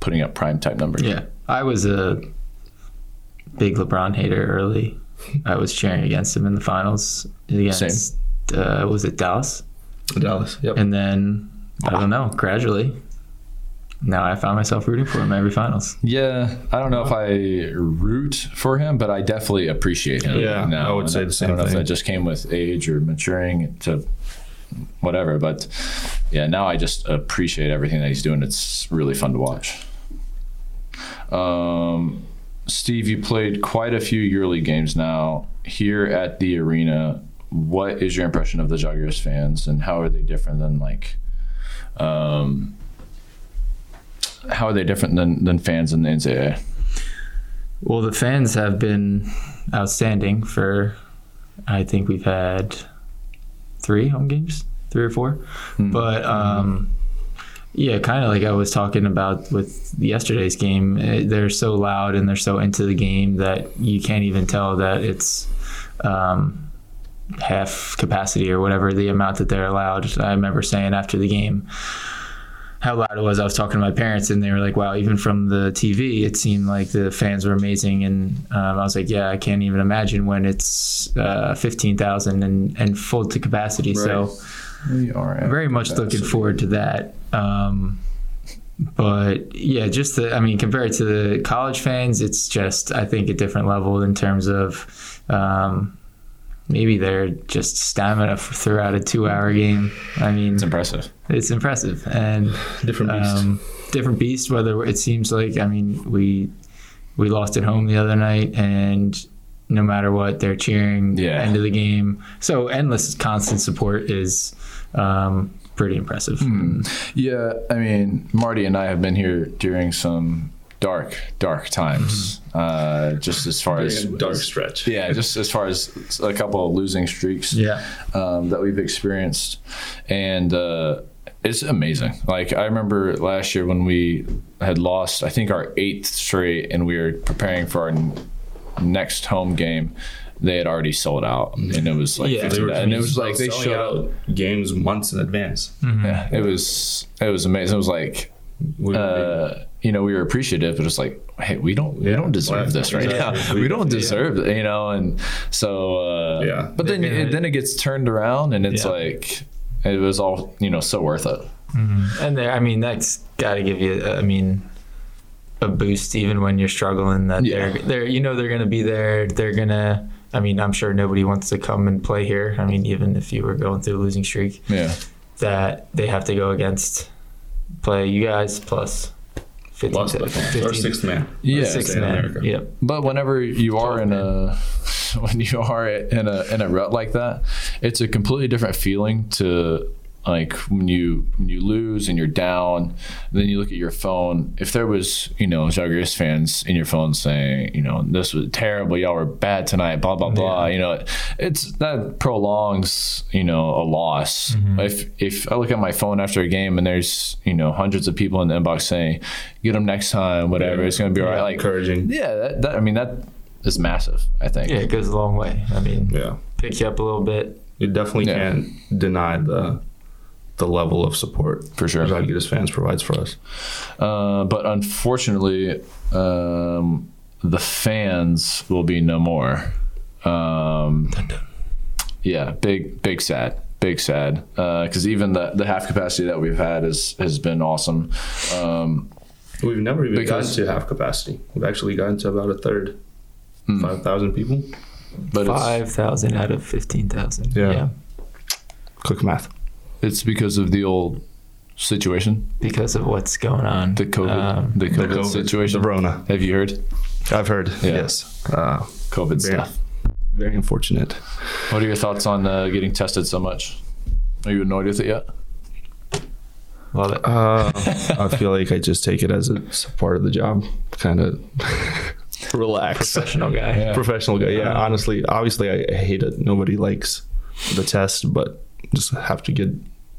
[SPEAKER 3] putting up prime type numbers.
[SPEAKER 2] Yeah, I was a big LeBron hater early. I was cheering against him in the finals against uh, was it Dallas,
[SPEAKER 4] Dallas. Yep.
[SPEAKER 2] and then I don't know. Gradually, now I found myself rooting for him every finals.
[SPEAKER 3] Yeah, I don't know if I root for him, but I definitely appreciate him.
[SPEAKER 4] Yeah,
[SPEAKER 3] now.
[SPEAKER 4] I would
[SPEAKER 3] And
[SPEAKER 4] say the same
[SPEAKER 3] I don't know
[SPEAKER 4] thing.
[SPEAKER 3] if that just came with age or maturing to whatever, but yeah, now I just appreciate everything that he's doing. It's really fun to watch. Um, Steve, you played quite a few yearly games now here at the arena. What is your impression of the Jaguars fans, and how are they different than like? Um, how are they different than, than fans in the NCAA?
[SPEAKER 2] Well, the fans have been outstanding for, I think we've had three home games, three or 4 But um, yeah, kind of like I was talking about with yesterday's game, eh, they're so loud and they're so into the game that you can't even tell that it's. Um, half capacity or whatever the amount that they're allowed i remember saying after the game how loud it was. I was talking to my parents, and they were like, "Wow!" Even from the TV, it seemed like the fans were amazing. And um, I was like, "Yeah, I can't even imagine when it's uh, fifteen thousand and and full to capacity." So
[SPEAKER 3] We are at
[SPEAKER 2] very much looking forward to that. Um, but yeah, just the, I mean, compared to the college fans, it's just, I think, a different level in terms of um, maybe their just stamina f- throughout a two hour game. I mean,
[SPEAKER 3] It's impressive.
[SPEAKER 2] it's impressive. And
[SPEAKER 4] Different beast.
[SPEAKER 2] um, different beast. Whether it seems like I mean we we lost at home the other night, and no matter what, they're cheering.
[SPEAKER 3] Yeah.
[SPEAKER 2] End of the game. So endless constant support is um, pretty impressive.
[SPEAKER 3] Yeah, I mean, Marty and I have been here during some dark, dark times. Uh, just as far as
[SPEAKER 4] dark stretch.
[SPEAKER 3] yeah, just as far as a couple of losing streaks
[SPEAKER 2] Yeah.
[SPEAKER 3] um, that we've experienced, and uh, it's amazing. Like I remember last year when we had lost, I think our eighth straight, and we were preparing for our n- next home game. They had already sold out, and it was like
[SPEAKER 2] Yeah, they
[SPEAKER 3] 50
[SPEAKER 2] were
[SPEAKER 3] and it was like they
[SPEAKER 4] selling
[SPEAKER 3] showed Mm-hmm. up.
[SPEAKER 4] out games months in advance.
[SPEAKER 3] Yeah, it was it was amazing. It was like
[SPEAKER 4] We were
[SPEAKER 3] uh, you know, we were appreciative, but it's like, hey, we don't, we don't deserve
[SPEAKER 4] Right.
[SPEAKER 3] this right now.
[SPEAKER 4] Exactly.
[SPEAKER 3] We don't deserve, it, you know, and so, uh,
[SPEAKER 4] Yeah.
[SPEAKER 3] But then,
[SPEAKER 2] Yeah.
[SPEAKER 3] it, then it gets turned around, and it's
[SPEAKER 2] Yeah.
[SPEAKER 3] like, it was all, you know, so worth it.
[SPEAKER 2] And there, I mean, that's got to give you. I mean. A boost, even when you're struggling, that
[SPEAKER 3] Yeah.
[SPEAKER 2] they're they're you know they're gonna be there. They're gonna. I mean, I'm sure nobody wants to come and play here. I mean, even if you were going through a losing streak,
[SPEAKER 3] Yeah,
[SPEAKER 2] that they have to go against play you guys plus 15
[SPEAKER 4] Lost by five. Or sixth man.
[SPEAKER 3] yeah.
[SPEAKER 2] six
[SPEAKER 4] in
[SPEAKER 2] man.
[SPEAKER 4] America.
[SPEAKER 2] Yep.
[SPEAKER 3] But whenever you are in a when you are in a in a rut like that, it's a completely different feeling to like when you when you lose and you're down, then you look at your phone. If there was, you know, Jaguars fans in your phone saying, you know, this was terrible, y'all were bad tonight, blah blah blah, you know, it's that prolongs, you know, a loss. If if I look at my phone after a game and there's, you know, hundreds of people in the inbox saying, get them next time, whatever, it's going to be all right. Like
[SPEAKER 4] encouraging.
[SPEAKER 3] yeah, that, that I mean that is massive. I think.
[SPEAKER 2] yeah it goes a long way i mean
[SPEAKER 4] Yeah.
[SPEAKER 2] pick you up a little bit
[SPEAKER 4] You definitely
[SPEAKER 3] Yeah.
[SPEAKER 4] can't deny the the level of support
[SPEAKER 3] For sure.
[SPEAKER 4] Rodriguez fans provides for us.
[SPEAKER 3] Uh, but unfortunately, um, the fans will be no more. Um, yeah, big big sad. Big sad because even the, the half capacity that we've had is has been awesome. Um,
[SPEAKER 4] We've never even
[SPEAKER 3] Because-
[SPEAKER 4] gotten to half capacity. We've actually gotten to about a third,
[SPEAKER 3] Hmm.
[SPEAKER 4] five thousand people.
[SPEAKER 3] but it's,
[SPEAKER 2] 5000 out of 15000
[SPEAKER 4] Yeah. Quick math.
[SPEAKER 3] it's because of the old situation,
[SPEAKER 2] because of what's going on
[SPEAKER 3] the COVID,
[SPEAKER 2] Um,
[SPEAKER 3] the COVID,
[SPEAKER 4] COVID,
[SPEAKER 3] situation.
[SPEAKER 4] the Rona.
[SPEAKER 3] Have you heard
[SPEAKER 4] I've heard.
[SPEAKER 3] Yeah.
[SPEAKER 4] Yes. Uh,
[SPEAKER 3] COVID
[SPEAKER 4] Yeah.
[SPEAKER 3] stuff?
[SPEAKER 4] very unfortunate.
[SPEAKER 3] What are your thoughts on uh, getting tested so much? Are you annoyed with it yet?
[SPEAKER 2] Love it.
[SPEAKER 4] Uh, I feel like I just take it as it's a part of the job, kind of relax.
[SPEAKER 2] Professional guy.
[SPEAKER 3] Yeah. Uh-huh.
[SPEAKER 4] Professional guy. Yeah, honestly, obviously, I I hate it. Nobody likes the test, but just have to get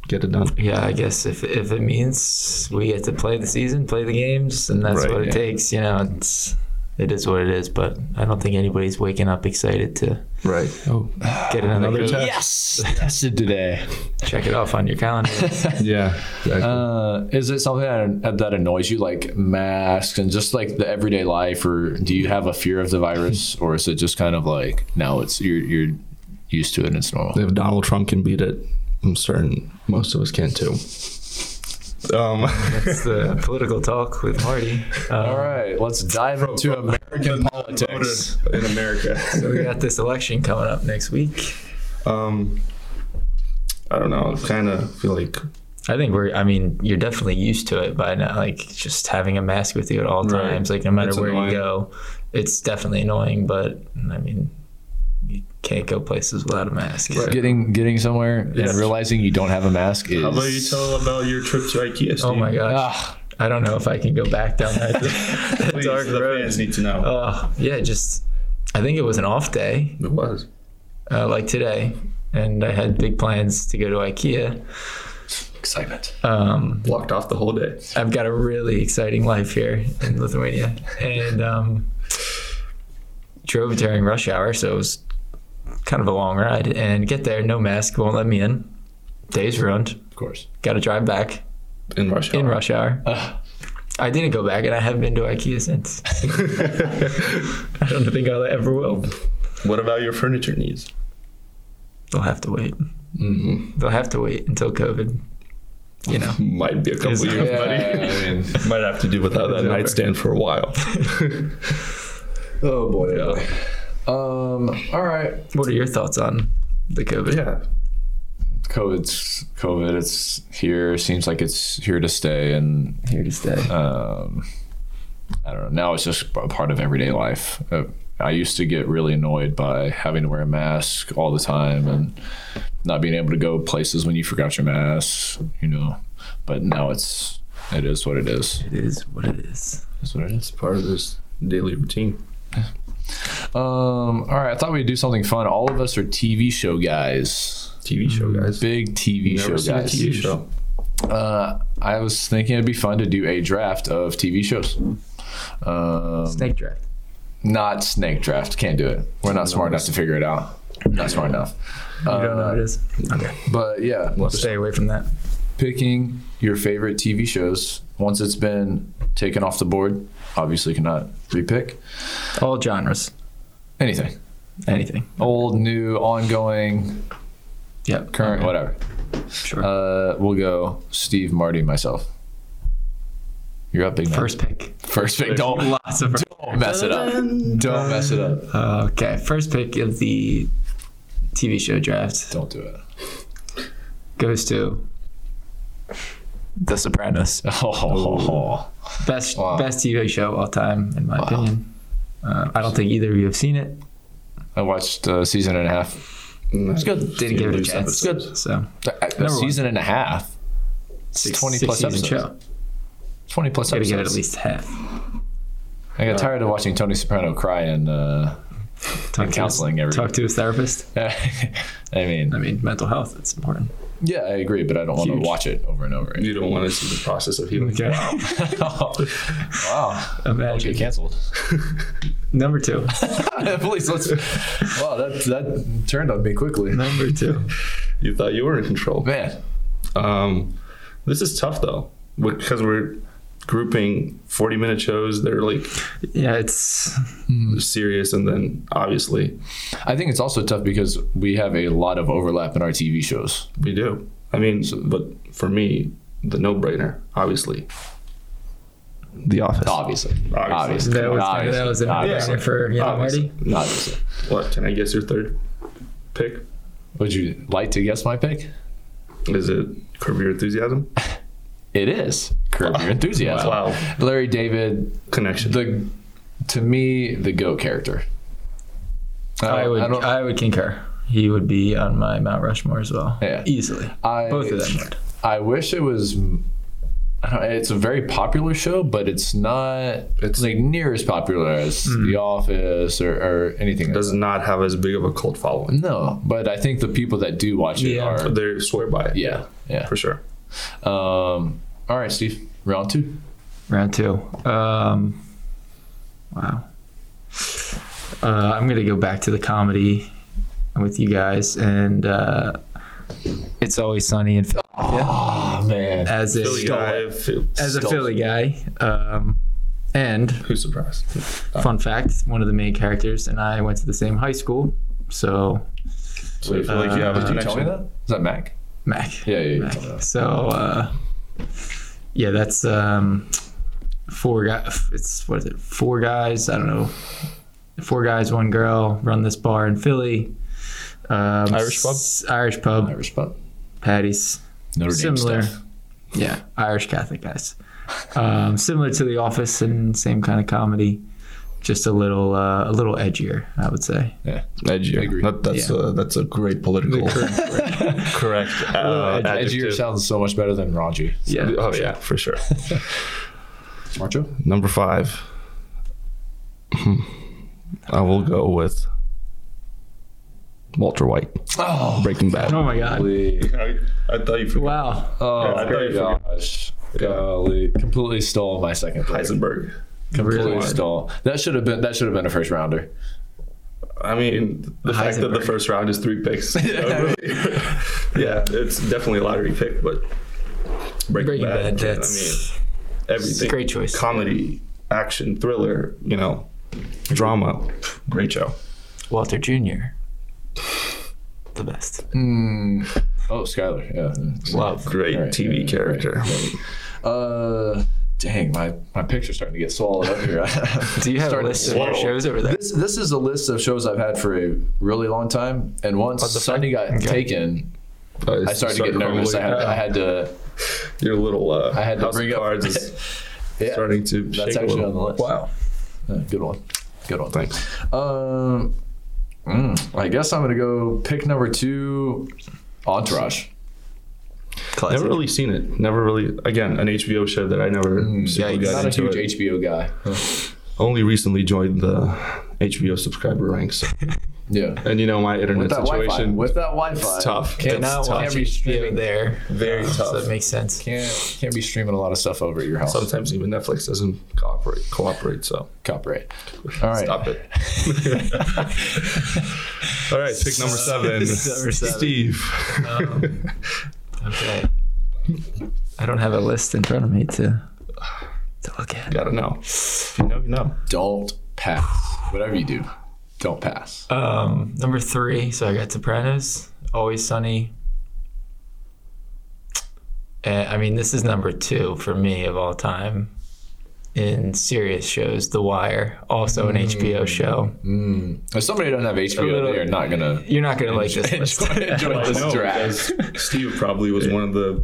[SPEAKER 4] get it done.
[SPEAKER 2] Yeah, I guess if if it means we get to play the season, play the games, and that's
[SPEAKER 4] Right,
[SPEAKER 2] what it
[SPEAKER 4] yeah.
[SPEAKER 2] takes, you know, it's it is what it is. But I don't think anybody's waking up excited to
[SPEAKER 4] Right. Oh,
[SPEAKER 2] get another,
[SPEAKER 4] Another
[SPEAKER 2] goat.
[SPEAKER 4] test.
[SPEAKER 3] Yes, tested today.
[SPEAKER 2] Check it off on your calendar.
[SPEAKER 4] yeah. Exactly.
[SPEAKER 3] Uh, is it something that, that annoys you, like masks and just like the everyday life, or do you have a fear of the virus, or is it just kind of like no, it's you're you're used to it and it's normal?
[SPEAKER 4] if Donald Trump can beat it, I'm certain most of us can too. Um,
[SPEAKER 2] That's the political talk with Marty.
[SPEAKER 3] All
[SPEAKER 2] Uh,
[SPEAKER 3] right, let's dive into American politics.
[SPEAKER 4] in America.
[SPEAKER 2] so we got this election coming up next week.
[SPEAKER 4] Um, I don't know. Kind of feel like
[SPEAKER 2] I think we're. I mean, you're definitely used to it by now. Like just having a mask with you at all
[SPEAKER 4] Right.
[SPEAKER 2] times, like no matter
[SPEAKER 4] It's
[SPEAKER 2] where
[SPEAKER 4] annoying.
[SPEAKER 2] you go, it's definitely annoying. But I mean, you can't go places without a mask.
[SPEAKER 3] Getting getting somewhere
[SPEAKER 2] Yes.
[SPEAKER 3] and realizing you don't have a mask is.
[SPEAKER 4] How about you tell about your trip to IKEA? Steve?
[SPEAKER 2] Oh my gosh,
[SPEAKER 3] Ah,
[SPEAKER 2] I don't know if I can go back down that, that
[SPEAKER 4] Please,
[SPEAKER 2] dark
[SPEAKER 4] the
[SPEAKER 2] road.
[SPEAKER 4] fans need to know.
[SPEAKER 2] Uh, yeah, just I think it was an off day,
[SPEAKER 4] it was.
[SPEAKER 2] uh, like today, and I had big plans to go to IKEA.
[SPEAKER 3] excitement.
[SPEAKER 2] Um,
[SPEAKER 4] Blocked off the whole day.
[SPEAKER 2] I've got a really exciting life here in Lithuania, and um, drove during rush hour, so it was kind of a long ride. And get there, no mask, won't let me in. Day's ruined.
[SPEAKER 3] Of course.
[SPEAKER 2] Got to drive back
[SPEAKER 4] In Russia.
[SPEAKER 2] in rush hour.
[SPEAKER 3] Ugh.
[SPEAKER 2] I didn't go back, and I haven't been to IKEA since. I don't think I ever will.
[SPEAKER 4] What about your furniture needs?
[SPEAKER 2] They'll have to wait.
[SPEAKER 4] Mm,
[SPEAKER 2] They'll have to wait until COVID. You know,
[SPEAKER 4] might be a couple
[SPEAKER 2] Is-
[SPEAKER 4] years,
[SPEAKER 3] Yeah,
[SPEAKER 4] buddy.
[SPEAKER 3] I mean,
[SPEAKER 4] might have to do without that
[SPEAKER 2] over.
[SPEAKER 4] nightstand for a while.
[SPEAKER 3] oh boy. Um. All right.
[SPEAKER 2] what are your thoughts on the COVID?
[SPEAKER 4] yeah.
[SPEAKER 3] COVID's COVID. It's here. Seems like it's here to stay, and
[SPEAKER 2] Here to stay.
[SPEAKER 3] um, I don't know. Now it's just a part of everyday life. Uh, I used to get really annoyed by having to wear a mask all the time and not being able to go places when you forgot your mask. You know, but now it's it is what it is.
[SPEAKER 2] It is what it is.
[SPEAKER 3] It's what it is.
[SPEAKER 4] Part of this daily routine.
[SPEAKER 3] Um. All right. I thought we'd do something fun. All of us are TV show guys.
[SPEAKER 4] TV show, guys.
[SPEAKER 3] Big TV
[SPEAKER 4] Never
[SPEAKER 3] show
[SPEAKER 4] seen a
[SPEAKER 3] guys.
[SPEAKER 4] TV Mm, show.
[SPEAKER 3] Uh, I was thinking it'd be fun to do a draft of TV shows. Um,
[SPEAKER 2] Snake draft.
[SPEAKER 3] not snake draft. Can't do it. We're not smart enough to figure it out. Not smart enough.
[SPEAKER 2] You don't know what it is. Okay.
[SPEAKER 3] But yeah,
[SPEAKER 2] Stay away from that.
[SPEAKER 3] picking your favorite TV shows once it's been taken off the board. Obviously, cannot repick
[SPEAKER 2] All genres.
[SPEAKER 3] anything.
[SPEAKER 2] Anything.
[SPEAKER 3] Old, new, ongoing,
[SPEAKER 2] Yep.
[SPEAKER 3] current, whatever.
[SPEAKER 2] Sure.
[SPEAKER 3] Uh, we'll go Steve, Marty, myself. You're up, big man.
[SPEAKER 2] first pick.
[SPEAKER 3] first pick. Don't
[SPEAKER 2] Lots of.
[SPEAKER 3] don't mess it up. Don't mess it up.
[SPEAKER 2] Uh, okay. First pick of the TV show draft
[SPEAKER 3] Don't do it.
[SPEAKER 2] goes to The Sopranos.
[SPEAKER 3] Oh,
[SPEAKER 2] Best
[SPEAKER 3] Wow.
[SPEAKER 2] best TV show of all time, in my opinion. Uh, I don't think either of you have seen it.
[SPEAKER 3] I watched a season and a half.
[SPEAKER 4] It's
[SPEAKER 2] good. Didn't give it a chance.
[SPEAKER 4] Good.
[SPEAKER 2] So
[SPEAKER 3] A
[SPEAKER 2] Number one.
[SPEAKER 3] season and a half.
[SPEAKER 2] six,
[SPEAKER 3] 20
[SPEAKER 2] six
[SPEAKER 3] plus
[SPEAKER 2] season
[SPEAKER 3] episodes.
[SPEAKER 2] show.
[SPEAKER 3] Twenty plus
[SPEAKER 2] Gotta
[SPEAKER 3] episodes.
[SPEAKER 2] give it at least half.
[SPEAKER 3] I got tired of watching Tony Soprano cry and. Uh,
[SPEAKER 2] Talk
[SPEAKER 3] counseling
[SPEAKER 2] to his,
[SPEAKER 3] every-
[SPEAKER 2] talk to his therapist.
[SPEAKER 3] I mean,
[SPEAKER 2] I mean, mental health. It's important.
[SPEAKER 3] yeah, I agree, but I don't want to
[SPEAKER 4] Huge.
[SPEAKER 3] watch it over and over. Again.
[SPEAKER 4] You don't want to see the process of healing.
[SPEAKER 2] Okay.
[SPEAKER 3] wow, I'll
[SPEAKER 2] Imagine.
[SPEAKER 3] get canceled.
[SPEAKER 2] Number two.
[SPEAKER 3] Please let's. Wow, that that turned on me quickly.
[SPEAKER 2] Number two.
[SPEAKER 4] You thought you were in control.
[SPEAKER 3] Man,
[SPEAKER 4] Um, this is tough though because we're grouping 40 minute shows that are like
[SPEAKER 2] Yeah, it's
[SPEAKER 4] serious and then obviously
[SPEAKER 3] I think it's also tough because we have a lot of overlap in our TV shows.
[SPEAKER 4] we do. I mean, so- but for me, the no brainer, obviously. The Office.
[SPEAKER 3] Obviously,
[SPEAKER 4] Obviously.
[SPEAKER 3] obviously,
[SPEAKER 2] that was
[SPEAKER 3] obviously.
[SPEAKER 2] that was a
[SPEAKER 3] obviously.
[SPEAKER 2] no-brainer for you know,
[SPEAKER 3] Obviously.
[SPEAKER 2] Marty.
[SPEAKER 3] obviously.
[SPEAKER 4] What? Can I guess your third pick?
[SPEAKER 3] Would you like to guess my pick?
[SPEAKER 4] Is it Curb Your Enthusiasm?
[SPEAKER 3] It is Curb Your Enthusiasm.
[SPEAKER 4] Wow.
[SPEAKER 3] Larry David,
[SPEAKER 4] Connection.
[SPEAKER 3] the to me the goat character.
[SPEAKER 2] I would.
[SPEAKER 3] I
[SPEAKER 2] I,
[SPEAKER 3] don't-
[SPEAKER 2] would concur. He would be on my Mount Rushmore as well.
[SPEAKER 3] Yeah.
[SPEAKER 2] easily.
[SPEAKER 3] I-
[SPEAKER 2] Both of them would.
[SPEAKER 3] I wish it was. I don't- It's a very popular show, but it's not. It's like near as popular as The Office or, or anything. Like
[SPEAKER 4] Does not have as big of a cult following.
[SPEAKER 3] that. No, but I think the people that do watch it
[SPEAKER 2] Yeah.
[SPEAKER 3] are.
[SPEAKER 4] They swear by it.
[SPEAKER 3] Yeah, yeah.
[SPEAKER 4] for sure.
[SPEAKER 3] Um, all right, Steve. Round two.
[SPEAKER 2] Round two. Um, wow. Uh, I'm gonna go back to the comedy with you guys, and uh, it's always sunny in Philly.
[SPEAKER 3] Oh man.
[SPEAKER 2] As a
[SPEAKER 4] Philly guy, Phil-
[SPEAKER 2] as a
[SPEAKER 4] Stole-
[SPEAKER 2] Philly guy, um, and
[SPEAKER 4] Who's surprised?
[SPEAKER 2] fun fact, one of the main characters and I went to the same high school. So
[SPEAKER 4] So you feel like you have a
[SPEAKER 3] Did you tell me
[SPEAKER 4] connection.
[SPEAKER 3] that? Is that Mac?
[SPEAKER 2] Mac.
[SPEAKER 3] Yeah, yeah. yeah.
[SPEAKER 2] Mac. So uh, yeah, that's um, four guys. It's what is it? Four guys. I don't know. Four guys, one girl. Run this bar in Philly. Um,
[SPEAKER 4] Irish pub?
[SPEAKER 2] s- Irish pub.
[SPEAKER 3] Irish pub.
[SPEAKER 2] Patties.
[SPEAKER 3] Notre Dame
[SPEAKER 2] Similar.
[SPEAKER 3] stuff.
[SPEAKER 2] Yeah, Irish Catholic guys. Um, similar to The Office and same kind of comedy, just a little uh, a little edgier, I would say.
[SPEAKER 3] Yeah.
[SPEAKER 4] Edgier.
[SPEAKER 3] Agree.
[SPEAKER 4] That, that's
[SPEAKER 2] Yeah.
[SPEAKER 4] a that's a great political correct. Uh,
[SPEAKER 3] Edgier
[SPEAKER 4] adjective.
[SPEAKER 3] sounds so much better than raunchy.
[SPEAKER 2] Yeah.
[SPEAKER 4] Oh yeah, for sure.
[SPEAKER 3] Marcho?
[SPEAKER 4] Number five. Hmm. I will go with Walter White.
[SPEAKER 3] Oh,
[SPEAKER 4] Breaking Bad.
[SPEAKER 2] Oh my God!
[SPEAKER 3] golly.
[SPEAKER 4] I, I thought you forgot
[SPEAKER 2] Wow.
[SPEAKER 3] Oh,
[SPEAKER 4] I thought you forgot.
[SPEAKER 3] gosh. Golly. Completely stole my second place.
[SPEAKER 4] Heisenberg.
[SPEAKER 3] Completely
[SPEAKER 2] Really?
[SPEAKER 3] stole. That should have been that should have been a first rounder.
[SPEAKER 4] I mean, the fact that the
[SPEAKER 2] Heisenberg.
[SPEAKER 4] first round is three picks. you know, really. yeah, it's definitely a lottery pick, but Breaking,
[SPEAKER 2] Breaking
[SPEAKER 4] Bad.
[SPEAKER 2] Bad.
[SPEAKER 4] I
[SPEAKER 2] That's
[SPEAKER 4] mean, everything.
[SPEAKER 2] great choice.
[SPEAKER 4] Comedy, action, thriller. You know, drama. Great show.
[SPEAKER 2] Walter Jr. The best.
[SPEAKER 3] Oh, Skyler. Yeah.
[SPEAKER 2] Love.
[SPEAKER 4] Great
[SPEAKER 3] All right,
[SPEAKER 4] TV
[SPEAKER 3] yeah,
[SPEAKER 4] character.
[SPEAKER 3] Uh, dang, my my picture's starting to get swallowed up here.
[SPEAKER 2] Do you have a
[SPEAKER 3] Starting to
[SPEAKER 2] list of your
[SPEAKER 4] slow.
[SPEAKER 2] shows over there?
[SPEAKER 3] This this is a list of shows I've had for a really long time, and once Sunday got taken, I started to get nervous. I had, I had to.
[SPEAKER 4] your little. Uh,
[SPEAKER 3] I had to
[SPEAKER 4] house of
[SPEAKER 3] bring up-
[SPEAKER 4] cards is
[SPEAKER 3] Yeah,
[SPEAKER 4] starting to.
[SPEAKER 3] that's
[SPEAKER 4] shake a
[SPEAKER 3] actually
[SPEAKER 4] little.
[SPEAKER 3] on the list.
[SPEAKER 2] Wow.
[SPEAKER 3] Yeah, good one. Good one.
[SPEAKER 4] Thanks.
[SPEAKER 3] Um, mm, I guess I'm gonna go pick number two, Entourage.
[SPEAKER 2] Classic.
[SPEAKER 4] Never really seen it. Never really. Again, an HBO show that I never super
[SPEAKER 2] yikes.
[SPEAKER 4] got
[SPEAKER 3] Mm, Not a
[SPEAKER 4] into
[SPEAKER 3] huge
[SPEAKER 4] it.
[SPEAKER 3] HBO guy.
[SPEAKER 4] Only recently joined the HBO subscriber ranks,
[SPEAKER 3] Yeah.
[SPEAKER 4] and you know my internet
[SPEAKER 3] With that Wi-Fi.
[SPEAKER 4] situation.
[SPEAKER 3] With that Wi-Fi.
[SPEAKER 4] It's tough.
[SPEAKER 3] Can't,
[SPEAKER 4] It's
[SPEAKER 2] Not
[SPEAKER 4] tough.
[SPEAKER 3] can't be
[SPEAKER 2] watching
[SPEAKER 3] streaming
[SPEAKER 2] streaming there.
[SPEAKER 3] Very
[SPEAKER 2] So
[SPEAKER 3] tough.
[SPEAKER 2] that makes sense.
[SPEAKER 3] Can't can't be streaming a lot of stuff over at your house.
[SPEAKER 4] Sometimes even Netflix doesn't cooperate. Cooperate. So
[SPEAKER 3] Copyright. All right.
[SPEAKER 4] stop it. All right, pick number seven. Um,
[SPEAKER 2] Number seven.
[SPEAKER 4] Steve.
[SPEAKER 2] Okay. I don't have a list in front of me to to look at.
[SPEAKER 4] Gotta know. If you know, you know.
[SPEAKER 3] Don't pass. Whatever you do, don't pass.
[SPEAKER 2] Um, number three, so I got Sopranos, Always Sunny. And, I mean, this is number two for me of all time in serious shows. The Wire, also
[SPEAKER 3] Mm.
[SPEAKER 2] an HBO show.
[SPEAKER 3] If somebody doesn't have HBO,
[SPEAKER 2] little-
[SPEAKER 3] they are not gonna
[SPEAKER 2] You're not gonna like this list.
[SPEAKER 3] enjoy, enjoy
[SPEAKER 4] I know,
[SPEAKER 3] this draft.
[SPEAKER 4] because Steve probably was one of the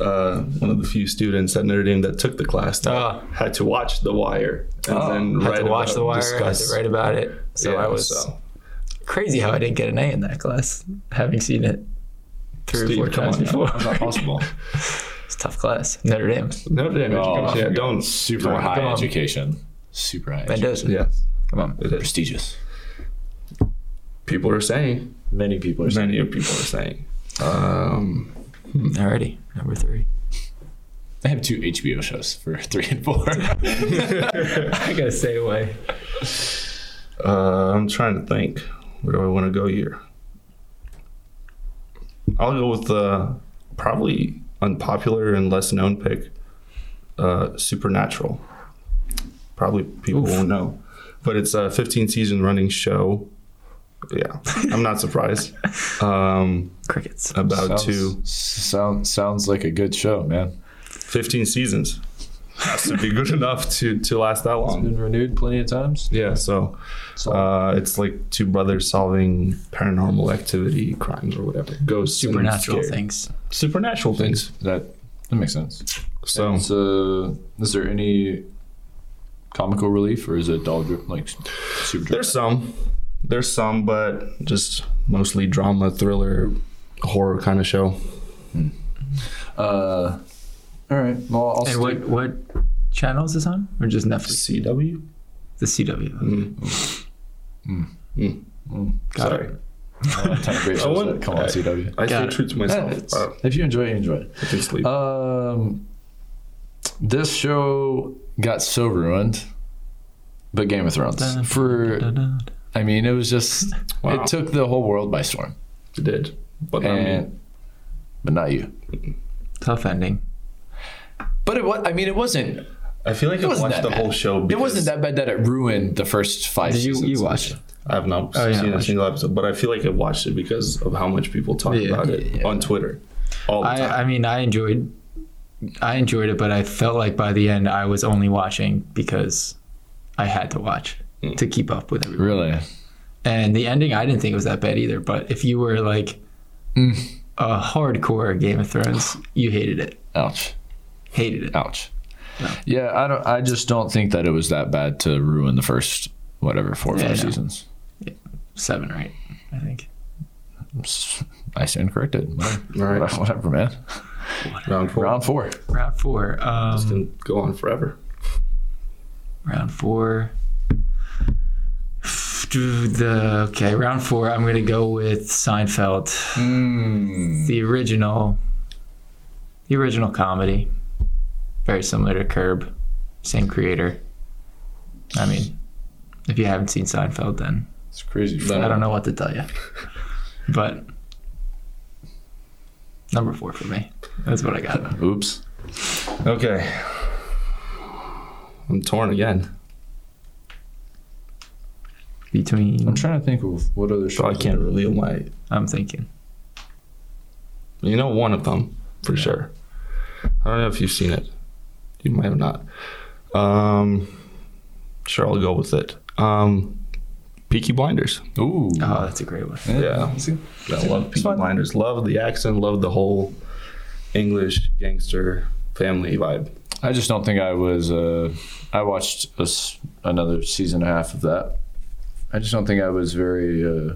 [SPEAKER 4] uh, one of the few students at Notre Dame that took the class that
[SPEAKER 2] Ah.
[SPEAKER 4] had to watch The Wire and
[SPEAKER 2] I had
[SPEAKER 4] then write
[SPEAKER 2] to watch
[SPEAKER 4] about-
[SPEAKER 2] The Wire. I had
[SPEAKER 4] discuss-
[SPEAKER 2] to write about it. So
[SPEAKER 4] Yeah,
[SPEAKER 2] I was
[SPEAKER 4] so.
[SPEAKER 2] crazy how I didn't get an A in that class, having seen it three
[SPEAKER 4] Steve,
[SPEAKER 2] or four
[SPEAKER 4] come
[SPEAKER 2] times
[SPEAKER 4] on now.
[SPEAKER 2] before.
[SPEAKER 3] It's not possible.
[SPEAKER 2] It's a tough class. Notre Dame.
[SPEAKER 4] Notre Dame
[SPEAKER 3] Oh,
[SPEAKER 4] education. Yeah, don't
[SPEAKER 3] Super
[SPEAKER 4] don't-
[SPEAKER 3] high
[SPEAKER 2] on.
[SPEAKER 3] education. Super high.
[SPEAKER 2] It
[SPEAKER 3] edu-
[SPEAKER 2] does.
[SPEAKER 4] Yes,
[SPEAKER 2] Come on.
[SPEAKER 4] it is.
[SPEAKER 3] Prestigious.
[SPEAKER 4] People are saying.
[SPEAKER 3] Many people are
[SPEAKER 4] Many of people are saying. Um,
[SPEAKER 2] Alrighty, number three.
[SPEAKER 3] I have two HBO shows for three and four.
[SPEAKER 2] I gotta stay away.
[SPEAKER 4] uh, I'm trying to think. Where do I want to go here? I'll go with the probably unpopular and less known pick, uh, Supernatural. Probably people won't know, but it's a 15 season running show. Yeah, I'm not surprised. Um,
[SPEAKER 2] Crickets.
[SPEAKER 4] about
[SPEAKER 3] sounds,
[SPEAKER 4] two,
[SPEAKER 3] Sounds sounds like a good show, man.
[SPEAKER 4] 15 seasons. Has to be good enough to to last that long.
[SPEAKER 3] Been renewed plenty of times.
[SPEAKER 4] Yeah, so
[SPEAKER 3] So
[SPEAKER 4] Uh, it's like two brothers solving paranormal activity, crimes, or whatever. Ghosts, and
[SPEAKER 2] Supernatural
[SPEAKER 4] scary-
[SPEAKER 2] things.
[SPEAKER 4] supernatural things.
[SPEAKER 3] that that makes sense.
[SPEAKER 4] So
[SPEAKER 3] So, is there any comical relief, or is it all dri- like super?
[SPEAKER 4] there's some. There's some, but just mostly drama, thriller, horror kind of show.
[SPEAKER 3] Uh, all right. Well, I'll
[SPEAKER 2] And
[SPEAKER 3] stick-
[SPEAKER 2] what what channel is this on? Or just Netflix?
[SPEAKER 4] CW.
[SPEAKER 2] The CW. Got
[SPEAKER 4] Sorry.
[SPEAKER 2] it.
[SPEAKER 3] uh, ton of great
[SPEAKER 4] I
[SPEAKER 3] shows
[SPEAKER 4] wouldn't-
[SPEAKER 3] that come on CW.
[SPEAKER 4] I
[SPEAKER 2] Got
[SPEAKER 4] stay
[SPEAKER 2] it.
[SPEAKER 4] true to
[SPEAKER 3] Yeah,
[SPEAKER 4] myself.
[SPEAKER 3] it's-
[SPEAKER 4] Uh,
[SPEAKER 3] if you enjoy, it, you enjoy it.
[SPEAKER 4] I can sleep.
[SPEAKER 3] Um, this show got so ruined, but Game of Thrones
[SPEAKER 2] Dun,
[SPEAKER 3] for
[SPEAKER 2] Da-da.
[SPEAKER 3] I mean it was just
[SPEAKER 4] Wow.
[SPEAKER 3] it took the whole world by storm,
[SPEAKER 4] it did. But um, I mean,
[SPEAKER 3] and but not you.
[SPEAKER 2] Tough ending.
[SPEAKER 3] But it was I mean it wasn't
[SPEAKER 4] I feel like I
[SPEAKER 3] wasn't
[SPEAKER 4] watched
[SPEAKER 3] that
[SPEAKER 4] the
[SPEAKER 3] bad.
[SPEAKER 4] whole show.
[SPEAKER 3] it wasn't that bad that it ruined the first five.
[SPEAKER 2] Did you
[SPEAKER 3] seasons.
[SPEAKER 2] you watch it?
[SPEAKER 4] I have not
[SPEAKER 3] Oh,
[SPEAKER 2] yeah,
[SPEAKER 4] seen a
[SPEAKER 2] watch it.
[SPEAKER 4] single episode, but I feel like I watched it because of how much people talk
[SPEAKER 2] Yeah,
[SPEAKER 4] about it on Twitter all the time.
[SPEAKER 2] I, I mean, I enjoyed, I enjoyed it, but I felt like by the end I was only watching because I had to watch to keep up with everyone.
[SPEAKER 3] Really?
[SPEAKER 2] And the ending, I didn't think it was that bad either. But if you were like a hardcore Game of Thrones, you hated it,
[SPEAKER 3] Ouch.
[SPEAKER 2] hated it.
[SPEAKER 3] Ouch. Yeah, I don't. I just don't think that it was that bad to ruin the first whatever four or
[SPEAKER 2] Yeah,
[SPEAKER 3] five
[SPEAKER 2] I know.
[SPEAKER 3] seasons.
[SPEAKER 2] Seven, right? I think.
[SPEAKER 3] I stand corrected. Whatever,
[SPEAKER 4] Right.
[SPEAKER 3] whatever man.
[SPEAKER 4] Round four.
[SPEAKER 3] Round four.
[SPEAKER 2] Round four. Um,
[SPEAKER 4] It's gonna go on forever.
[SPEAKER 2] Round four. The okay, round four. I'm gonna go with Seinfeld,
[SPEAKER 3] Hmm.
[SPEAKER 2] the original, the original comedy, very similar to Curb, same creator. I mean, if you haven't seen Seinfeld, then
[SPEAKER 3] It's crazy.
[SPEAKER 2] I don't know what to tell you. But number four for me. That's what I got.
[SPEAKER 3] Oops.
[SPEAKER 4] Okay. I'm torn again.
[SPEAKER 2] Between
[SPEAKER 3] I'm trying to think of what other shows.
[SPEAKER 4] So I can't reveal my.
[SPEAKER 2] I'm thinking
[SPEAKER 4] You know, one of them for sure. I don't know if you've seen it. You might have not. Um, sure, I'll go with it. Um, Peaky Blinders.
[SPEAKER 3] Ooh.
[SPEAKER 2] oh, that's a great one.
[SPEAKER 4] Yeah.
[SPEAKER 3] See?
[SPEAKER 4] I love Peaky
[SPEAKER 3] fine.
[SPEAKER 4] Blinders. Love the accent. Love the whole English gangster family vibe.
[SPEAKER 3] I just don't think I was. Uh, I watched a s another season and a half of that. I just don't think I was very. Uh,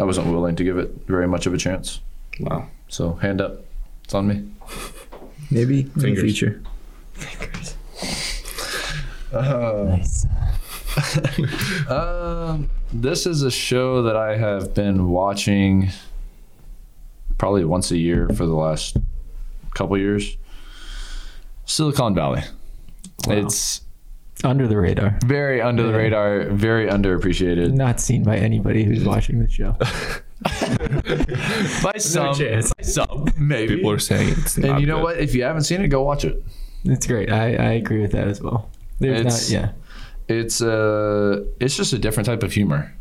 [SPEAKER 3] I wasn't willing to give it very much of a chance.
[SPEAKER 4] Wow.
[SPEAKER 3] So hand up. It's on me.
[SPEAKER 2] Maybe in the
[SPEAKER 4] Fingers.
[SPEAKER 2] future. Fingers.
[SPEAKER 3] Um, this is a show that I have been watching probably once a year for the last couple years. Silicon Valley. It's
[SPEAKER 5] Under the radar.
[SPEAKER 3] very under the radar, very underappreciated
[SPEAKER 5] Not seen by anybody who's watching the show.
[SPEAKER 3] by some,
[SPEAKER 5] chance.
[SPEAKER 3] by some maybe.
[SPEAKER 4] People are saying it's not
[SPEAKER 3] and you know
[SPEAKER 4] good.
[SPEAKER 3] what? If you haven't seen it, go watch it.
[SPEAKER 5] It's great. I, I agree with that as well. There's
[SPEAKER 3] It's-
[SPEAKER 5] not yeah.
[SPEAKER 3] It's uh, it's just a different type of humor,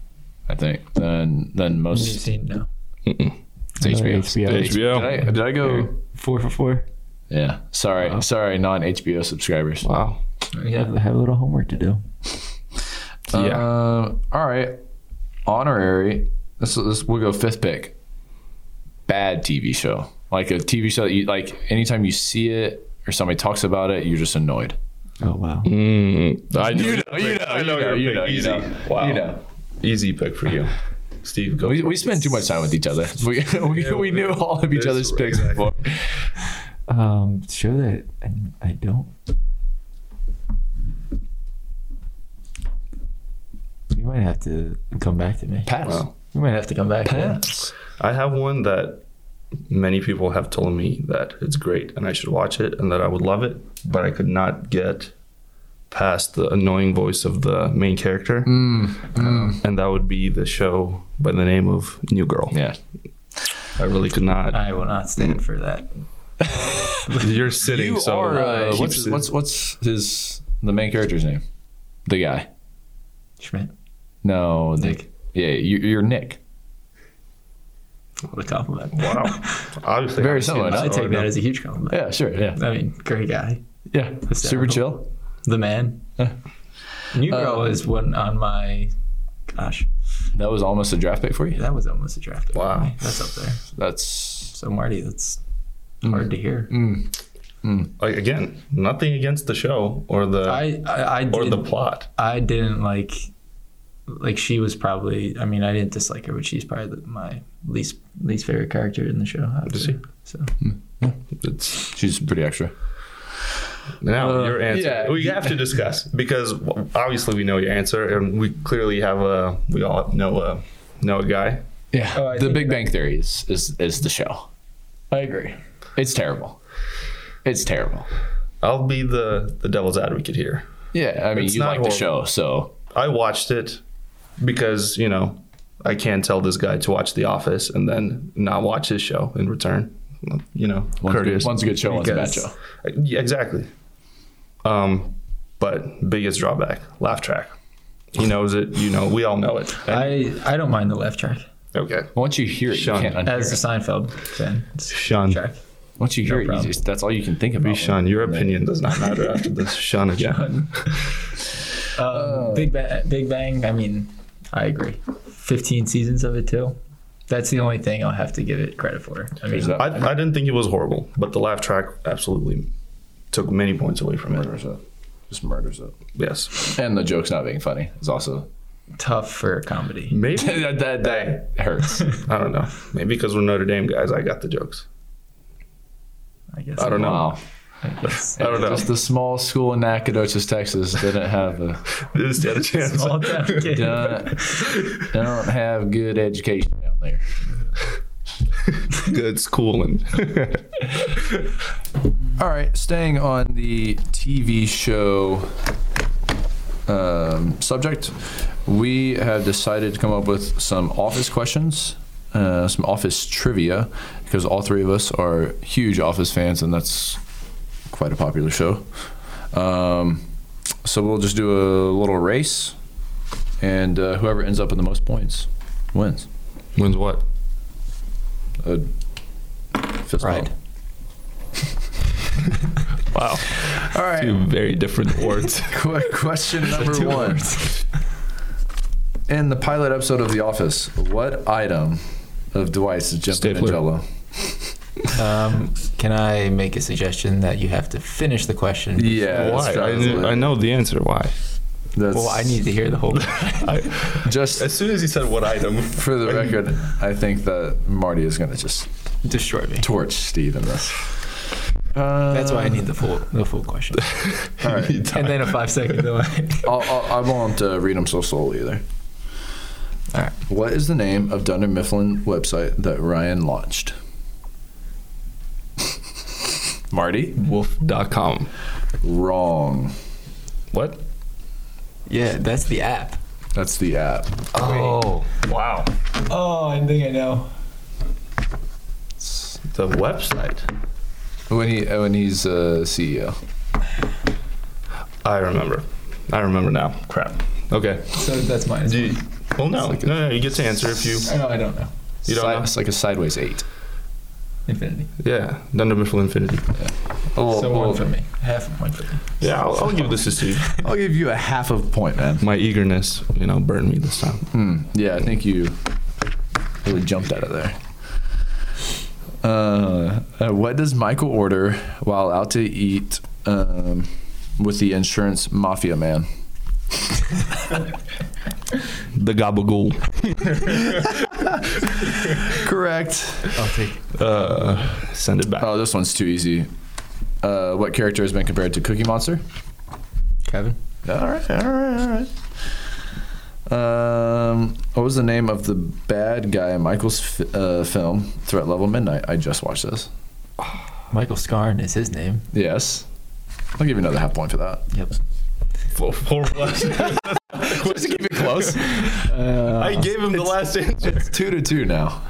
[SPEAKER 3] I think, than than
[SPEAKER 2] You've
[SPEAKER 3] most
[SPEAKER 2] seen no.
[SPEAKER 3] it's
[SPEAKER 5] Another HBO.
[SPEAKER 3] HBO. Did
[SPEAKER 4] HBO.
[SPEAKER 3] I, did I go?
[SPEAKER 5] Four for four.
[SPEAKER 3] Yeah. Sorry,
[SPEAKER 4] Uh-huh.
[SPEAKER 3] sorry, non HBO subscribers.
[SPEAKER 4] Wow.
[SPEAKER 2] Yeah.
[SPEAKER 5] I have a little homework to do.
[SPEAKER 4] Yeah.
[SPEAKER 3] Um, all right. Honorary. This, this we'll go fifth pick. Bad TV show, like a TV show that you like. Anytime you see it or somebody talks about it, you're just annoyed.
[SPEAKER 5] Oh wow.
[SPEAKER 4] Mm, I
[SPEAKER 3] You know, you know,
[SPEAKER 4] I
[SPEAKER 3] you
[SPEAKER 4] know
[SPEAKER 3] know,
[SPEAKER 4] your
[SPEAKER 3] you
[SPEAKER 4] pick.
[SPEAKER 3] know, you
[SPEAKER 4] Easy.
[SPEAKER 3] know.
[SPEAKER 4] Wow.
[SPEAKER 3] You know.
[SPEAKER 4] Easy pick for you, Steve. Go.
[SPEAKER 3] We, we spend too much time with each other. We we, we knew all of each
[SPEAKER 4] That's
[SPEAKER 3] other's
[SPEAKER 4] right,
[SPEAKER 3] picks
[SPEAKER 4] exactly.
[SPEAKER 3] before.
[SPEAKER 5] Um show that I, I don't. You might have to come back to me.
[SPEAKER 3] Pass.
[SPEAKER 5] You might have to come back. yeah.
[SPEAKER 3] Pass.
[SPEAKER 4] I have one that many people have told me that it's great and I should watch it and that I would love it, but I could not get past the annoying voice of the main character,
[SPEAKER 3] Mm,
[SPEAKER 4] Um, and that would be the show by the name of New Girl.
[SPEAKER 3] Yeah. Uh,
[SPEAKER 4] I really could not.
[SPEAKER 2] I will not stand for that.
[SPEAKER 4] You're sitting.
[SPEAKER 3] You
[SPEAKER 4] so
[SPEAKER 3] are. Uh,
[SPEAKER 4] keep
[SPEAKER 3] what's,
[SPEAKER 4] sit-
[SPEAKER 3] what's what's his the main character's name? The guy.
[SPEAKER 2] Schmidt,
[SPEAKER 3] No, the,
[SPEAKER 2] Nick.
[SPEAKER 3] Yeah, you, you're Nick.
[SPEAKER 2] what a compliment.
[SPEAKER 4] wow? Obviously,
[SPEAKER 3] Very
[SPEAKER 4] I've seen
[SPEAKER 3] similar,
[SPEAKER 4] this
[SPEAKER 2] I
[SPEAKER 3] no?
[SPEAKER 4] show.
[SPEAKER 2] take that as a huge compliment.
[SPEAKER 3] Yeah, sure. Yeah.
[SPEAKER 2] I mean, great guy,
[SPEAKER 3] Yeah, super
[SPEAKER 2] Hysterical.
[SPEAKER 3] chill.
[SPEAKER 2] the man. New
[SPEAKER 4] Uh,
[SPEAKER 2] Girl is one on my. Gosh,
[SPEAKER 3] That was almost a draft pick for you.
[SPEAKER 2] that was almost a draft. pick.
[SPEAKER 4] Wow.
[SPEAKER 2] that's up there.
[SPEAKER 3] That's
[SPEAKER 2] So Marty, that's
[SPEAKER 4] Mm.
[SPEAKER 2] hard to hear.
[SPEAKER 4] Like again, nothing against the show or the
[SPEAKER 2] I I, I
[SPEAKER 4] or
[SPEAKER 2] did,
[SPEAKER 4] the plot.
[SPEAKER 2] I didn't like like she was probably. I mean, I didn't dislike her, but she's probably the, my least least favorite character in the show. After,
[SPEAKER 4] see.
[SPEAKER 2] So
[SPEAKER 4] It's
[SPEAKER 3] She's pretty extra.
[SPEAKER 4] now
[SPEAKER 2] Uh,
[SPEAKER 4] your answer.
[SPEAKER 3] yeah.
[SPEAKER 4] We have to discuss because w- obviously we know your answer, and we clearly have a. We all know a know a guy.
[SPEAKER 3] Yeah.
[SPEAKER 2] Oh, I
[SPEAKER 3] the
[SPEAKER 2] think
[SPEAKER 3] Big Bang Theory is, is is the show. I agree. It's terrible. It's terrible.
[SPEAKER 4] I'll be the the devil's advocate here.
[SPEAKER 3] Yeah, I mean,
[SPEAKER 4] It's
[SPEAKER 3] you
[SPEAKER 4] not
[SPEAKER 3] like the show, so
[SPEAKER 4] I watched it because you know I can't tell this guy to watch The Office and then not watch his show in return. You know,
[SPEAKER 3] one's,
[SPEAKER 4] courteous.
[SPEAKER 3] Good,
[SPEAKER 4] Uh,
[SPEAKER 3] one's a good show, one's a bad
[SPEAKER 2] Because-
[SPEAKER 3] show.
[SPEAKER 4] Yeah, exactly. Um, but biggest drawback, laugh track. He knows it. You know, we all know it.
[SPEAKER 2] I I don't mind the laugh track
[SPEAKER 4] okay.
[SPEAKER 3] Once you hear it,
[SPEAKER 4] Sean.
[SPEAKER 3] you can't unhear
[SPEAKER 2] as a
[SPEAKER 3] it.
[SPEAKER 2] Seinfeld fan. it's
[SPEAKER 4] Sean.
[SPEAKER 2] track.
[SPEAKER 3] Once you hear it,
[SPEAKER 2] problem.
[SPEAKER 3] you just, that's all you can think about.
[SPEAKER 4] Sean, your opinion does not matter after this. Sean again.
[SPEAKER 2] Um, Big Bang. Big Bang. I mean, I agree. Fifteen seasons of it too. That's the only thing I'll have to give it credit for. I mean,
[SPEAKER 3] Is that-
[SPEAKER 4] I, I didn't think it was horrible, but the laugh track absolutely took many points away from it.
[SPEAKER 3] murders it. Just murders it.
[SPEAKER 4] Yes.
[SPEAKER 3] And the joke's not being funny is also
[SPEAKER 2] tough for a comedy.
[SPEAKER 4] Maybe
[SPEAKER 3] that, that, that hurts.
[SPEAKER 4] I don't know. Maybe because we're Notre Dame guys, I got the jokes.
[SPEAKER 2] I guess.
[SPEAKER 4] I don't know.
[SPEAKER 3] Wow.
[SPEAKER 2] I guess.
[SPEAKER 4] I don't know.
[SPEAKER 3] Just the small school in Nacogdoches, Texas, didn't have a
[SPEAKER 4] This is the other chance.
[SPEAKER 2] Small town kid.
[SPEAKER 3] don't, don't have good education down there.
[SPEAKER 4] Good schooling.
[SPEAKER 3] All right, staying on the TV show um, subject, we have decided to come up with some office questions, uh, some office trivia, because all three of us are huge office fans, and that's quite a popular show. Um, so we'll just do a little race, and uh, whoever ends up with the most points wins.
[SPEAKER 4] Wins what?
[SPEAKER 3] A fist
[SPEAKER 2] Pride.
[SPEAKER 3] bump.
[SPEAKER 4] Wow.
[SPEAKER 3] All right.
[SPEAKER 4] Two very different words.
[SPEAKER 3] Qu- Question number
[SPEAKER 4] two
[SPEAKER 3] one. In the pilot episode of The Office, what item of Dwight's is jumping
[SPEAKER 4] Stapler.
[SPEAKER 3] in Jello?
[SPEAKER 5] Um, can I make a suggestion that you have to finish the question?
[SPEAKER 3] Yeah,
[SPEAKER 4] Why?
[SPEAKER 3] that's
[SPEAKER 4] I,
[SPEAKER 3] right.
[SPEAKER 4] I know the answer. Why?
[SPEAKER 3] That's-
[SPEAKER 5] Well, I need to hear the whole.
[SPEAKER 3] just
[SPEAKER 4] As soon as he said what item,
[SPEAKER 3] for the record. I think that Marty is gonna just
[SPEAKER 5] Destroy me.
[SPEAKER 3] torch Steve in this. Uh,
[SPEAKER 5] That's why I need the full the full question.
[SPEAKER 3] All right.
[SPEAKER 2] And then a five second delay.
[SPEAKER 3] I'll, I'll, I won't uh, read them so slowly either.
[SPEAKER 5] All right.
[SPEAKER 3] What is the name of Dunder Mifflin website that Ryan launched? Marty?
[SPEAKER 4] wolf.com.
[SPEAKER 3] Wrong.
[SPEAKER 4] What?
[SPEAKER 5] Yeah, that's the app.
[SPEAKER 3] That's the app.
[SPEAKER 5] Oh,
[SPEAKER 4] Wow.
[SPEAKER 2] Oh, I think I know.
[SPEAKER 4] The website.
[SPEAKER 3] When he when he's uh, CEO.
[SPEAKER 4] I remember. I remember now. Crap. Okay.
[SPEAKER 2] So that's mine.
[SPEAKER 4] Do you- well, no.
[SPEAKER 3] like a-
[SPEAKER 4] no, no. You get to answer if you.
[SPEAKER 2] I know. I don't know.
[SPEAKER 4] You don't know?
[SPEAKER 3] It's like a sideways eight.
[SPEAKER 2] Infinity.
[SPEAKER 4] Yeah. Dunder Mifflin Infinity.
[SPEAKER 3] Oh,
[SPEAKER 2] so one for me. Half of one for me.
[SPEAKER 4] Yeah, I'll, I'll give this to Steve.
[SPEAKER 3] I'll give you a half of a point, man.
[SPEAKER 4] My eagerness, you know, burned me this time.
[SPEAKER 3] Yeah, I think you really jumped out of there. Uh, uh, what does Michael order while out to eat um, with the insurance mafia man?
[SPEAKER 4] The gabagool.
[SPEAKER 3] Correct.
[SPEAKER 5] I'll take.
[SPEAKER 4] Uh, send it back.
[SPEAKER 3] Oh, this one's too easy. Uh, what character has been compared to Cookie Monster?
[SPEAKER 5] Kevin.
[SPEAKER 3] All right, all right, all right. Um, what was the name of the bad guy in Michael's fi- uh, film Threat Level Midnight? I just watched this.
[SPEAKER 5] Michael Scarn is his name.
[SPEAKER 3] Yes, I'll give you another half point for that.
[SPEAKER 5] Yep.
[SPEAKER 4] For- for what?
[SPEAKER 3] Just to keep it close.
[SPEAKER 4] I gave him the last answer.
[SPEAKER 3] It's two to two now.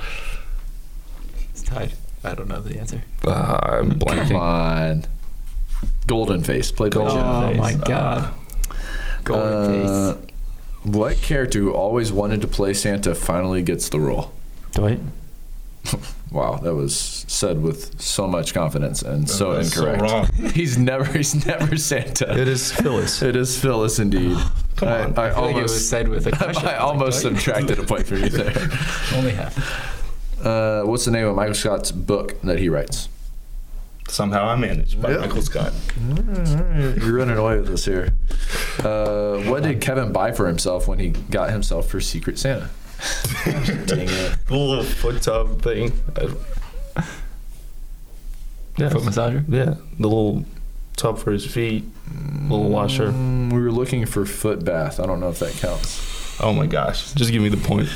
[SPEAKER 5] It's tied. I don't know the answer.
[SPEAKER 4] Uh, I'm
[SPEAKER 3] Come
[SPEAKER 4] blanking.
[SPEAKER 3] on. Golden Face played by Jennifer
[SPEAKER 5] Oh
[SPEAKER 3] Aniston.
[SPEAKER 5] my God. Golden
[SPEAKER 3] Uh,
[SPEAKER 5] face.
[SPEAKER 3] What character who always wanted to play Santa finally gets the role?
[SPEAKER 5] Dwight.
[SPEAKER 3] Wow, that was said with so much confidence and so
[SPEAKER 4] That's so
[SPEAKER 3] incorrect.
[SPEAKER 4] wrong.
[SPEAKER 3] he's never he's never Santa.
[SPEAKER 4] It is Phyllis.
[SPEAKER 3] It is Phyllis indeed.
[SPEAKER 4] Come
[SPEAKER 3] I-
[SPEAKER 4] on.
[SPEAKER 3] I,
[SPEAKER 5] I think it was
[SPEAKER 3] almost,
[SPEAKER 5] said with a question.
[SPEAKER 3] I almost subtracted a point for you there.
[SPEAKER 2] Only half.
[SPEAKER 3] Uh, what's the name of Michael Scott's book that he writes?
[SPEAKER 4] Somehow I managed by
[SPEAKER 6] Yeah.
[SPEAKER 4] Michael Scott.
[SPEAKER 3] You're running away with us here. Uh, what did Kevin buy for himself when he got himself for Secret Santa? Dang it.
[SPEAKER 4] Little foot tub thing. I- Yeah,
[SPEAKER 2] Foot massager?
[SPEAKER 4] yeah, the little tub for his feet, little washer.
[SPEAKER 3] Mm, we were looking for foot bath. I don't know if that counts.
[SPEAKER 4] Oh my gosh! Just give me the point.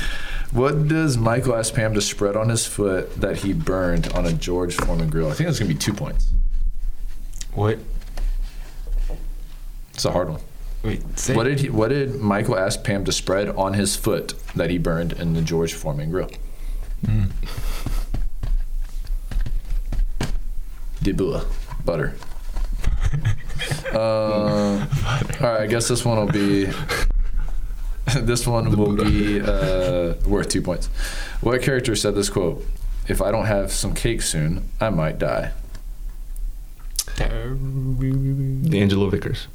[SPEAKER 3] What does Michael ask Pam to spread on his foot that he burned on a George Foreman grill? I think that's gonna be two points.
[SPEAKER 5] What?
[SPEAKER 3] It's a hard one.
[SPEAKER 5] Wait, say,
[SPEAKER 3] What did he, what did Michael ask Pam to spread on his foot that he burned in the George Foreman grill? Debula butter. uh, All right, I guess this one will be. this one will be uh, worth two points. What character said this quote? If I don't have some cake soon, I might die.
[SPEAKER 4] D'Angelo Vickers.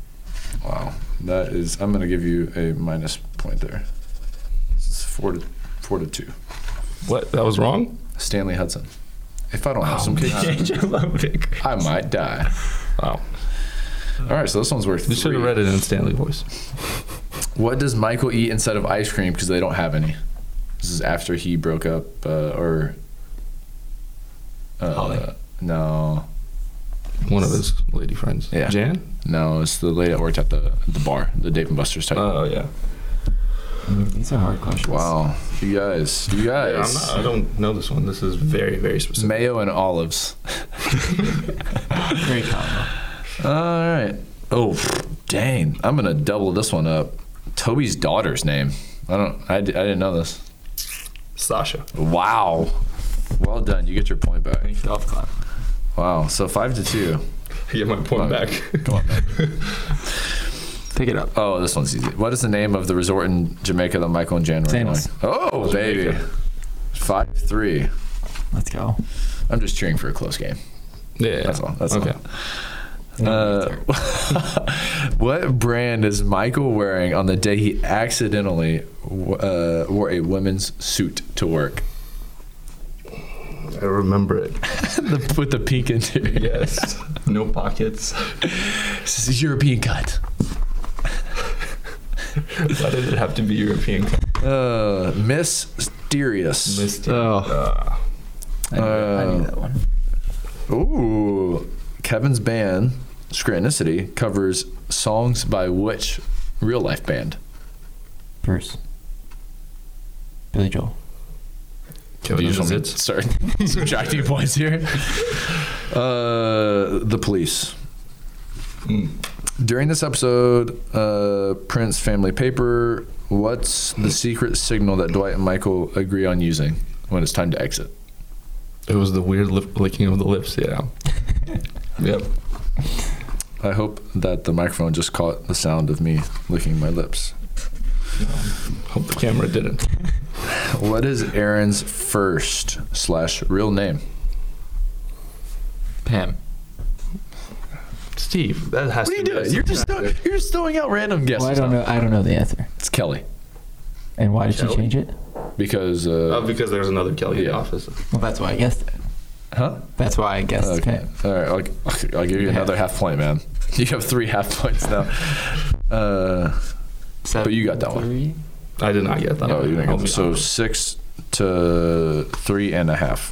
[SPEAKER 3] Wow, that is. I'm going to give you a minus point there. It's four to four to two.
[SPEAKER 4] What? That was wrong.
[SPEAKER 3] Stanley Hudson. If I don't have some cake, soon,
[SPEAKER 4] D'Angelo Vickers.
[SPEAKER 3] I might die.
[SPEAKER 4] Wow.
[SPEAKER 3] All right, so this one's worth.
[SPEAKER 4] You should
[SPEAKER 3] three.
[SPEAKER 4] have read it in Stanley voice.
[SPEAKER 3] What does Michael eat instead of ice cream because they don't have any? This is after he broke up, uh, or uh,
[SPEAKER 2] Holly.
[SPEAKER 3] no,
[SPEAKER 4] One of his lady friends.
[SPEAKER 3] Yeah.
[SPEAKER 4] Jan.
[SPEAKER 3] no, it's the lady that worked at the the bar, the Dave and Buster's type.
[SPEAKER 4] Oh yeah.
[SPEAKER 5] these are hard questions.
[SPEAKER 3] wow, you guys, you
[SPEAKER 4] Yeah,
[SPEAKER 3] guys,
[SPEAKER 4] I'm not, I don't know this one. This is very very specific.
[SPEAKER 3] mayo and olives.
[SPEAKER 5] Very common.
[SPEAKER 3] All right. Oh, dang! I'm gonna double this one up. Toby's daughter's name. I don't. I, di- I didn't know this.
[SPEAKER 4] Sasha.
[SPEAKER 3] Wow. Well done. You get your point back.
[SPEAKER 5] Golf clap.
[SPEAKER 3] Wow. So five to two.
[SPEAKER 4] Get my point back.
[SPEAKER 5] Pick it up.
[SPEAKER 3] Oh, this one's easy. What is the name of the resort in Jamaica that Michael and Jan were in?
[SPEAKER 5] Samos.
[SPEAKER 3] Oh, baby. Five three.
[SPEAKER 5] Let's go.
[SPEAKER 3] I'm just cheering for a close game.
[SPEAKER 4] yeah.
[SPEAKER 3] That's all. That's all.
[SPEAKER 4] okay.
[SPEAKER 3] Uh, what brand is Michael wearing on the day he accidentally w- uh, wore a women's suit to work
[SPEAKER 4] I remember it.
[SPEAKER 3] The- with the pink interior?
[SPEAKER 4] Yes. no pockets.
[SPEAKER 3] This is European cut.
[SPEAKER 4] Why did it have to be European?
[SPEAKER 3] Uh, mysterious.
[SPEAKER 4] Uh,
[SPEAKER 5] I knew, I knew
[SPEAKER 3] Uh,
[SPEAKER 5] that one.
[SPEAKER 3] Ooh, Kevin's band Scranticity covers songs by which real life band?
[SPEAKER 5] Bruce. Billy Joel.
[SPEAKER 3] Do you want me to start subtracting points here? Uh, the police. During this episode, uh, Prince Family Paper. What's the secret signal that Dwight and Michael agree on using when it's time to exit?
[SPEAKER 4] It was the weird lip, licking of the lips. Yeah. yep.
[SPEAKER 3] I hope that the microphone just caught the sound of me licking my lips.
[SPEAKER 4] Hope the camera didn't.
[SPEAKER 3] What is Aaron's first slash real name?
[SPEAKER 5] Pam.
[SPEAKER 4] Steve, that has
[SPEAKER 3] What are you
[SPEAKER 4] to be
[SPEAKER 3] doing? You're just throwing, you're just throwing out random guesses.
[SPEAKER 5] Well, I don't know. I don't know the answer.
[SPEAKER 3] It's Kelly
[SPEAKER 5] And why did she
[SPEAKER 4] Kelly?
[SPEAKER 5] change it?
[SPEAKER 3] because
[SPEAKER 4] Oh,
[SPEAKER 3] uh,
[SPEAKER 4] because there's another Kelly in
[SPEAKER 3] Yeah.
[SPEAKER 4] the office.
[SPEAKER 5] Well, that's why I guessed it.
[SPEAKER 3] huh?
[SPEAKER 5] That's why I guessed
[SPEAKER 3] Okay.
[SPEAKER 5] Pam.
[SPEAKER 3] All right. I'll, I'll- I'll give you another half point, man. You have three half points now. Uh,
[SPEAKER 5] Seven,
[SPEAKER 3] But you got that one.
[SPEAKER 5] three.
[SPEAKER 4] I did not get that.
[SPEAKER 3] oh, you didn't
[SPEAKER 4] I'll
[SPEAKER 3] get
[SPEAKER 4] be
[SPEAKER 3] so
[SPEAKER 4] honest.
[SPEAKER 3] six to three and a half.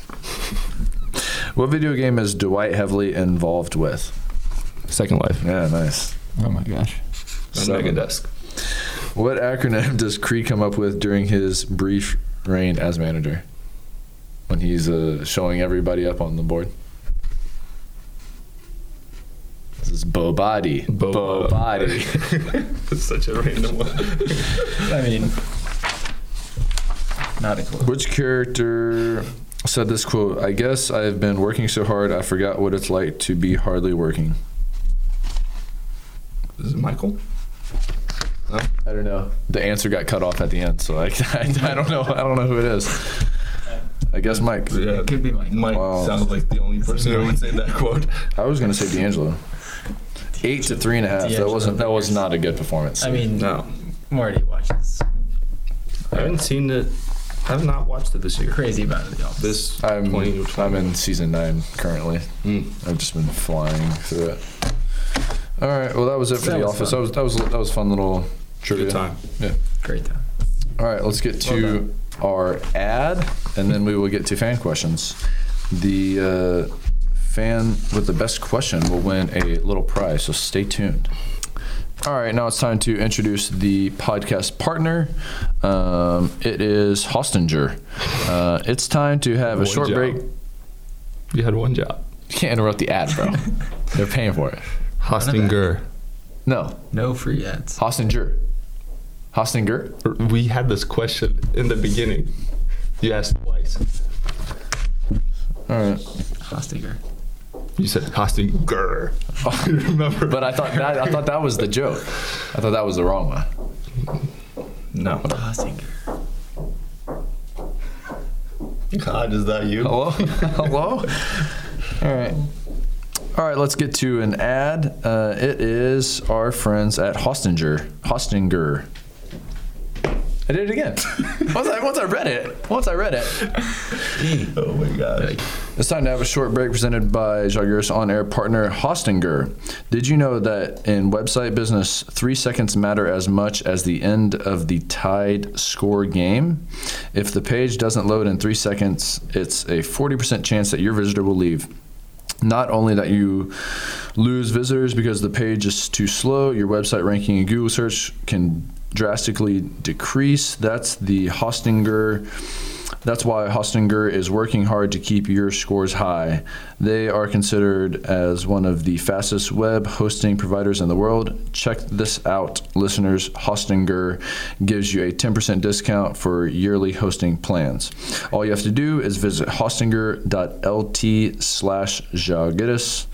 [SPEAKER 3] What video game is Dwight heavily involved with?
[SPEAKER 4] Second Life.
[SPEAKER 3] Yeah, nice.
[SPEAKER 5] Oh my gosh.
[SPEAKER 3] Seven.
[SPEAKER 4] Mega Desk.
[SPEAKER 3] What acronym does Cree come up with during his brief reign as manager? When he's uh, showing everybody up on the board? This is Bo Body.
[SPEAKER 4] Bo-
[SPEAKER 3] Body.
[SPEAKER 4] That's such a random one.
[SPEAKER 2] I mean, not a clue.
[SPEAKER 3] Which character said this quote? I guess I've been working so hard, I forgot what it's like to be hardly working.
[SPEAKER 4] Is it Michael?
[SPEAKER 3] I don't know. The answer got cut off at the end, so I, I, don't know. I don't know who it is. I guess Mike.
[SPEAKER 4] Yeah.
[SPEAKER 2] It could be Michael.
[SPEAKER 4] Mike
[SPEAKER 3] Wow.
[SPEAKER 4] sounds like the only person who would say that quote.
[SPEAKER 3] I was gonna say D'Angelo. Eight to three and a half. That
[SPEAKER 2] D'Angelo
[SPEAKER 3] wasn't. That was not a good performance.
[SPEAKER 2] I mean,
[SPEAKER 4] No.
[SPEAKER 2] Marty watches.
[SPEAKER 4] I haven't seen it I've not watched it this year.
[SPEAKER 2] Crazy about the Dolphins.
[SPEAKER 4] This
[SPEAKER 3] I'm,
[SPEAKER 4] 20 or
[SPEAKER 3] I'm in season nine currently.
[SPEAKER 2] Hmm.
[SPEAKER 4] Mm.
[SPEAKER 3] I've just been flying through it. All right. Well, that was it for
[SPEAKER 2] That
[SPEAKER 3] the
[SPEAKER 2] was
[SPEAKER 3] office.
[SPEAKER 2] fun.
[SPEAKER 3] That was that was that was a fun little trivia
[SPEAKER 4] good time.
[SPEAKER 2] Great time.
[SPEAKER 3] All right, let's get to our ad, and then we will get to fan questions. The uh, fan with the best question will win a little prize, so stay tuned. All right, now it's time to introduce the podcast partner. Um, it is Hostinger. Uh, it's time to have a
[SPEAKER 4] One
[SPEAKER 3] short
[SPEAKER 4] job.
[SPEAKER 3] break.
[SPEAKER 4] You had one job.
[SPEAKER 3] You can't interrupt the ad, bro. They're paying for it.
[SPEAKER 4] Hostinger.
[SPEAKER 3] No,
[SPEAKER 2] No free ads.
[SPEAKER 3] Hostinger. Hostinger?
[SPEAKER 4] We had this question in the beginning. You asked twice.
[SPEAKER 3] All right.
[SPEAKER 2] Hostinger.
[SPEAKER 4] You said Hostinger. Remember?
[SPEAKER 3] But I thought that I thought that was the joke. I thought that was the wrong one.
[SPEAKER 4] no.
[SPEAKER 2] Hostinger.
[SPEAKER 4] God, is that you?
[SPEAKER 3] Hello? Hello? All right. All right, let's get to an ad. Uh, it is our friends at Hostinger. Hostinger. I did it again. once, I, once I read it, once I read it.
[SPEAKER 4] Oh my God.
[SPEAKER 3] It's time to have a short break presented by Jaguar's on air partner, Hostinger. Did you know that in website business, three seconds matter as much as the end of the tied score game? If the page doesn't load in three seconds, it's a 40% chance that your visitor will leave. Not only that you lose visitors because the page is too slow, your website ranking in Google search can drastically decrease. That's the Hostinger. That's why Hostinger is working hard to keep your scores high. They are considered as one of the fastest web hosting providers in the world. Check this out, listeners. Hostinger gives you a 10% discount for yearly hosting plans. All you have to do is visit hostinger.lt slash Zhao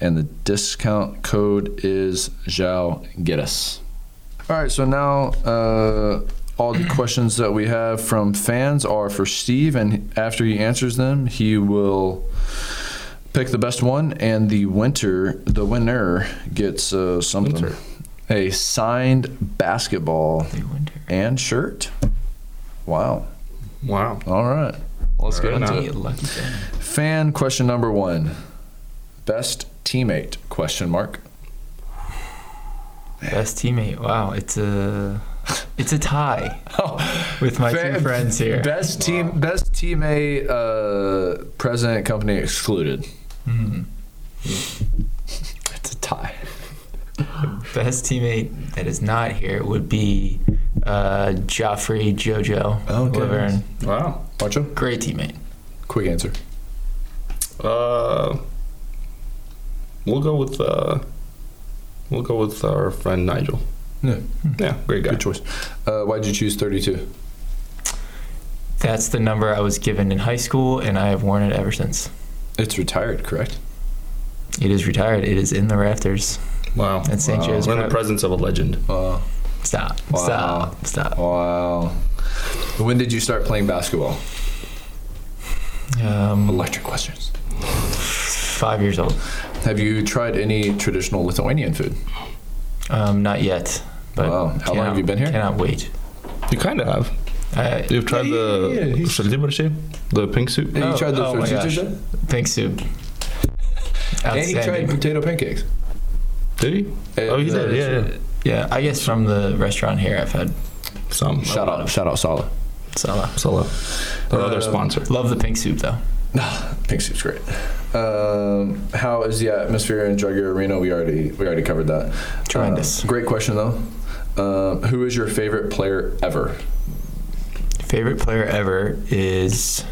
[SPEAKER 3] and the discount code is Zhao All right, so now uh, all the questions that we have from fans are for Steve, and after he answers them, he will pick the best one, and the winter, the winner gets uh, something.
[SPEAKER 4] Winter.
[SPEAKER 3] A signed basketball
[SPEAKER 2] They wonder.
[SPEAKER 3] and shirt. Wow.
[SPEAKER 4] Wow.
[SPEAKER 3] All right.
[SPEAKER 4] Let's
[SPEAKER 3] get into
[SPEAKER 2] Be a lucky fan.
[SPEAKER 3] Fan question number one. Best teammate? Question mark.
[SPEAKER 2] Best teammate. Wow, it's a it's a tie with my
[SPEAKER 3] Fan-
[SPEAKER 2] two friends here.
[SPEAKER 3] Best team, best teammate, uh, president company excluded.
[SPEAKER 2] Mm-hmm.
[SPEAKER 3] It's a tie.
[SPEAKER 2] Best teammate that is not here would be uh, Joffrey Jojo
[SPEAKER 3] Okay.
[SPEAKER 2] Laverne.
[SPEAKER 4] Wow.
[SPEAKER 3] Macho,
[SPEAKER 2] Great teammate.
[SPEAKER 3] quick answer.
[SPEAKER 4] Uh, we'll go with uh, we'll go with our friend Nigel.
[SPEAKER 3] Yeah,
[SPEAKER 4] Yeah, great guy.
[SPEAKER 3] good choice. Uh, why'd you choose 32?
[SPEAKER 2] That's the number I was given in high school, and I have worn it ever since.
[SPEAKER 3] It's retired, correct?
[SPEAKER 2] It is retired. It is in the rafters
[SPEAKER 4] Wow.
[SPEAKER 2] at St. Joe's.
[SPEAKER 4] We're in the
[SPEAKER 2] Prep.
[SPEAKER 4] presence of a legend.
[SPEAKER 3] Wow.
[SPEAKER 2] Stop.
[SPEAKER 3] Wow.
[SPEAKER 2] Stop. Stop.
[SPEAKER 3] Wow. When did you start playing basketball?
[SPEAKER 2] Um,
[SPEAKER 3] Electric questions.
[SPEAKER 2] five years old.
[SPEAKER 3] Have you tried any traditional Lithuanian food?
[SPEAKER 2] Um, not yet. But
[SPEAKER 3] Wow. How long have
[SPEAKER 2] cannot-
[SPEAKER 3] you been here?
[SPEAKER 2] Cannot wait.
[SPEAKER 4] You kind of have.
[SPEAKER 2] I,
[SPEAKER 4] You've tried
[SPEAKER 3] Yeah,
[SPEAKER 4] the
[SPEAKER 3] yeah, yeah, he's-
[SPEAKER 4] Shaldibarshi, the pink soup.
[SPEAKER 3] Have
[SPEAKER 2] Oh,
[SPEAKER 3] you tried the
[SPEAKER 2] oh my
[SPEAKER 3] fritz-
[SPEAKER 2] gosh. Pink soup.
[SPEAKER 3] And he tried
[SPEAKER 2] Outstanding.
[SPEAKER 3] potato pancakes.
[SPEAKER 4] Did he?
[SPEAKER 3] Uh,
[SPEAKER 4] oh, he
[SPEAKER 3] the-
[SPEAKER 4] did. Yeah, yeah.
[SPEAKER 2] Yeah, I guess from the restaurant here, I've had
[SPEAKER 4] Some.
[SPEAKER 3] Shout out, shout out, Sala.
[SPEAKER 2] some.
[SPEAKER 4] Solo. Our
[SPEAKER 3] Uh,
[SPEAKER 4] other sponsor.
[SPEAKER 2] Love the pink soup though.
[SPEAKER 3] Pink soup's great. Um, how is the atmosphere in Jaguar Arena? We already we already covered that.
[SPEAKER 2] Tremendous.
[SPEAKER 3] Uh, great question though. Um, who is your favorite player ever?
[SPEAKER 2] Favorite player ever is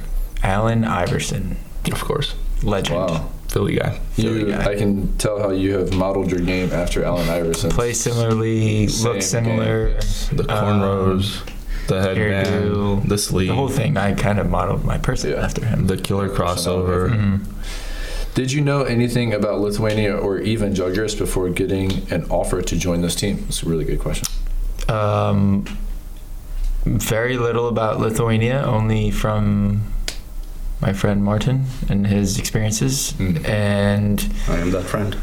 [SPEAKER 2] Allen Iverson,
[SPEAKER 4] Of course.
[SPEAKER 2] legend.
[SPEAKER 3] Wow.
[SPEAKER 4] Philly guy.
[SPEAKER 3] You, I can tell how you have modeled your game after Allen Iverson.
[SPEAKER 2] Play similarly,
[SPEAKER 3] Same
[SPEAKER 2] look similar,
[SPEAKER 4] The
[SPEAKER 3] Uh,
[SPEAKER 4] cornrows, the headband,
[SPEAKER 2] hairdo,
[SPEAKER 4] the sleeve,
[SPEAKER 2] the whole thing. I kind of modeled my person
[SPEAKER 3] Yeah.
[SPEAKER 2] after him.
[SPEAKER 4] the killer crossover.
[SPEAKER 3] Did you know anything about Lithuania or even Jaguars before getting an offer to join this team? That's a really good question.
[SPEAKER 2] Um, very little about Lithuania, only from my friend Martin and his experiences,
[SPEAKER 3] Mm.
[SPEAKER 2] and.
[SPEAKER 4] I am that friend.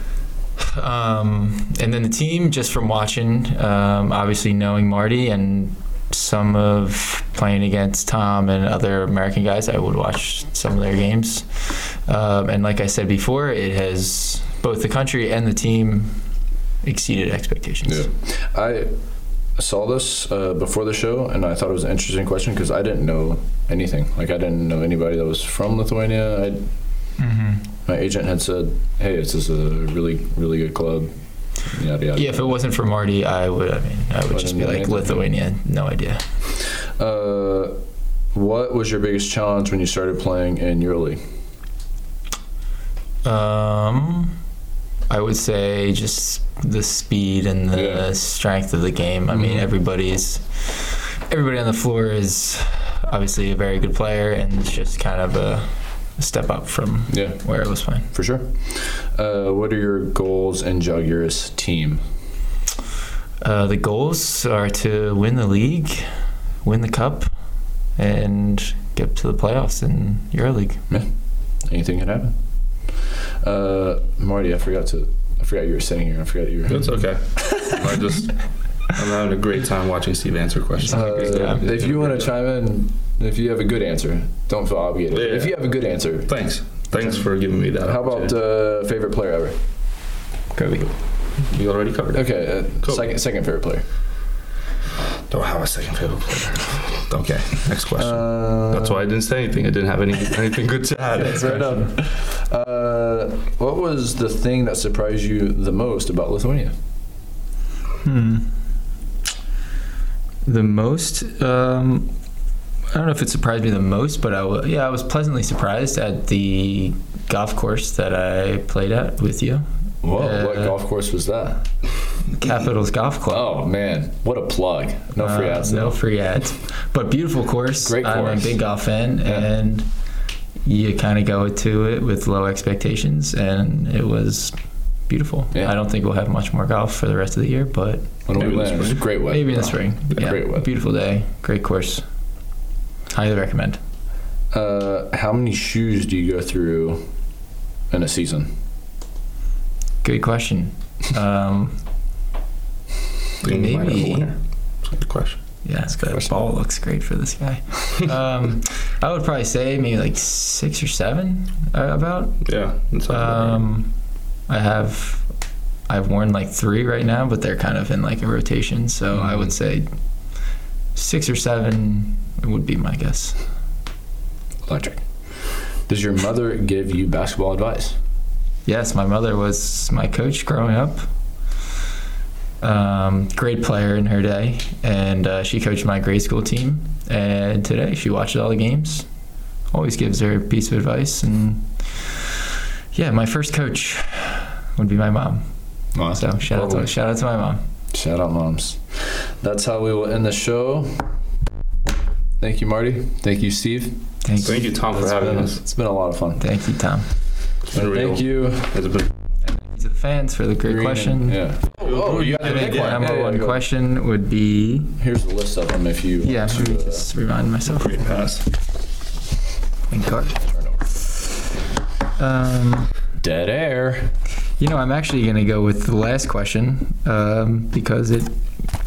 [SPEAKER 2] Um, and then the team, just from watching, um, obviously knowing Marty and some of playing against Tom and other American guys, I would watch some of their games. Um, and like I said before, it has both the country and the team exceeded expectations.
[SPEAKER 3] Yeah. I saw this uh, before the show and I thought it was an interesting question because I didn't know anything. Like, I didn't know anybody that was from Lithuania. I,
[SPEAKER 2] Mm-hmm.
[SPEAKER 3] My agent had said, hey, this is a really, really good club. Yada, yada.
[SPEAKER 2] Yeah, if it wasn't for Marty, I would. I mean, I would
[SPEAKER 3] Wouldn't
[SPEAKER 2] just be
[SPEAKER 3] know
[SPEAKER 2] like
[SPEAKER 3] anything.
[SPEAKER 2] Lithuania, no idea.
[SPEAKER 3] Uh, what was your biggest challenge when you started playing in EuroLeague?
[SPEAKER 2] Um, I would say just the speed and the
[SPEAKER 3] Yeah.
[SPEAKER 2] strength of the game. I mean, everybody's everybody on the floor is obviously a very good player, and it's just kind of a step up from
[SPEAKER 3] Yeah.
[SPEAKER 2] where I was playing.
[SPEAKER 3] For sure. Uh, what are your goals in Jaguar's team?
[SPEAKER 2] Uh, the goals are to win the league, win the cup, and get to the playoffs in EuroLeague.
[SPEAKER 3] Anything can happen. Uh, Marty, I forgot to. I forgot you were sitting here. I forgot you were.
[SPEAKER 4] It's okay. I just I'm having a great time watching Steve answer questions.
[SPEAKER 3] Uh, if you want to chime in, if you have a good answer, don't feel obligated.
[SPEAKER 4] Yeah.
[SPEAKER 3] If you have a good answer,
[SPEAKER 4] thanks, thanks for giving me that.
[SPEAKER 3] how about uh, favorite player ever?
[SPEAKER 4] Kobe?
[SPEAKER 3] uh,
[SPEAKER 4] You already covered it.
[SPEAKER 3] Okay, uh,
[SPEAKER 4] Cool.
[SPEAKER 3] second second favorite player.
[SPEAKER 4] Don't have a second favorite player. okay, next question.
[SPEAKER 3] Uh,
[SPEAKER 4] That's why I didn't say anything. I didn't have any, anything good to add.
[SPEAKER 3] Fair enough. Uh, what was the thing that surprised you the most about Lithuania?
[SPEAKER 2] Hmm. The most, um, I don't know if it surprised me the most, but I wa yeah, I was pleasantly surprised at the golf course that I played at with you,
[SPEAKER 3] Whoa, what
[SPEAKER 2] Uh,
[SPEAKER 3] golf course was that?
[SPEAKER 2] Capitals Golf Club.
[SPEAKER 3] Oh man, what a plug! No free
[SPEAKER 2] Uh,
[SPEAKER 3] ads.
[SPEAKER 2] no
[SPEAKER 3] though.
[SPEAKER 2] free ads, but beautiful course.
[SPEAKER 3] Great
[SPEAKER 2] I'm a
[SPEAKER 3] course.
[SPEAKER 2] big golf fan, and you kind of go to it with low expectations, and it was beautiful.
[SPEAKER 3] Yeah.
[SPEAKER 2] I don't think we'll have much more golf for the rest of the year, but
[SPEAKER 3] When we
[SPEAKER 4] Maybe this
[SPEAKER 3] land,
[SPEAKER 4] spring.
[SPEAKER 3] great way.
[SPEAKER 2] Maybe in the spring. Yeah.
[SPEAKER 3] uh, Great weather.
[SPEAKER 2] Beautiful day. Great course. Highly recommend.
[SPEAKER 3] Uh, how many shoes do you go through in a season?
[SPEAKER 2] Good question. Um,
[SPEAKER 4] Think we might have a
[SPEAKER 2] Maybe.
[SPEAKER 4] winner. It's a Good question.
[SPEAKER 2] yeah, the ball looks great for this guy. Um, I would probably say maybe like six or seven. Uh, about.
[SPEAKER 4] Yeah. It's all right.
[SPEAKER 2] Um, I have. I've worn like three right now, but they're kind of in like a rotation. So
[SPEAKER 4] Mm-hmm.
[SPEAKER 2] I would say six or seven would be my guess.
[SPEAKER 3] Electric. Does your mother give you basketball advice?
[SPEAKER 2] Yes, my mother was my coach growing up. Um, great player in her day, and uh, she coached my grade school team. And today, she watches all the games. Always gives her a piece of advice, and yeah, my first coach would be my mom. So shout out to shout out to my mom.
[SPEAKER 3] Shout out, moms. That's how we will end the show. Thank you, Marty. Thank you, Steve.
[SPEAKER 2] Thank you,
[SPEAKER 4] Thank you, Tom, for
[SPEAKER 3] It's
[SPEAKER 4] having
[SPEAKER 3] been,
[SPEAKER 4] us.
[SPEAKER 3] it's been a lot of fun.
[SPEAKER 2] thank you, Tom.
[SPEAKER 4] It's been real.
[SPEAKER 3] Thank you.
[SPEAKER 4] It's been
[SPEAKER 2] To the fans for the great
[SPEAKER 3] Green and-
[SPEAKER 2] question.
[SPEAKER 3] yeah. Oh, you got
[SPEAKER 2] I think the
[SPEAKER 3] Yeah,
[SPEAKER 2] number
[SPEAKER 3] yeah,
[SPEAKER 2] one
[SPEAKER 3] go.
[SPEAKER 2] question would be
[SPEAKER 3] Here's the list of them if you
[SPEAKER 2] yeah.
[SPEAKER 3] want
[SPEAKER 2] Let me
[SPEAKER 3] to, uh,
[SPEAKER 2] just remind myself.
[SPEAKER 4] great pass.
[SPEAKER 2] And card.
[SPEAKER 3] turn over.
[SPEAKER 2] Um.
[SPEAKER 3] Dead air.
[SPEAKER 2] You know, I'm actually going to go with the last question um, because it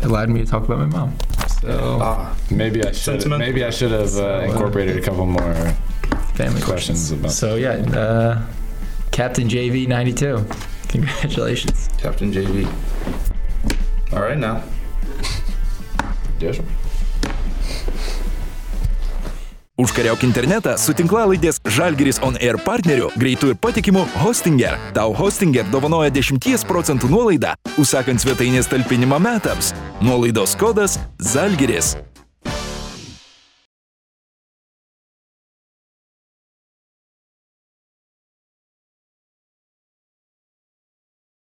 [SPEAKER 2] allowed me to talk about my mom. So,
[SPEAKER 4] Ah,
[SPEAKER 3] Maybe I should.
[SPEAKER 4] Sentiment.
[SPEAKER 3] Maybe I should have uh, incorporated a couple more
[SPEAKER 2] family
[SPEAKER 3] questions about.
[SPEAKER 2] So, yeah, uh, Captain JV92. Congratulations.
[SPEAKER 4] Captain JV. All right now.
[SPEAKER 3] Yes.
[SPEAKER 1] У шкаряок інтернета сутінклалидяс Жальгіріс он Air партнерю грейтує патікіму Гостінгер. Тау Гостінгер довоноя дешімтієс проценту нолайда усакан цвятині стальпінімаметабс. Нолайдо скодас Зальгіріс.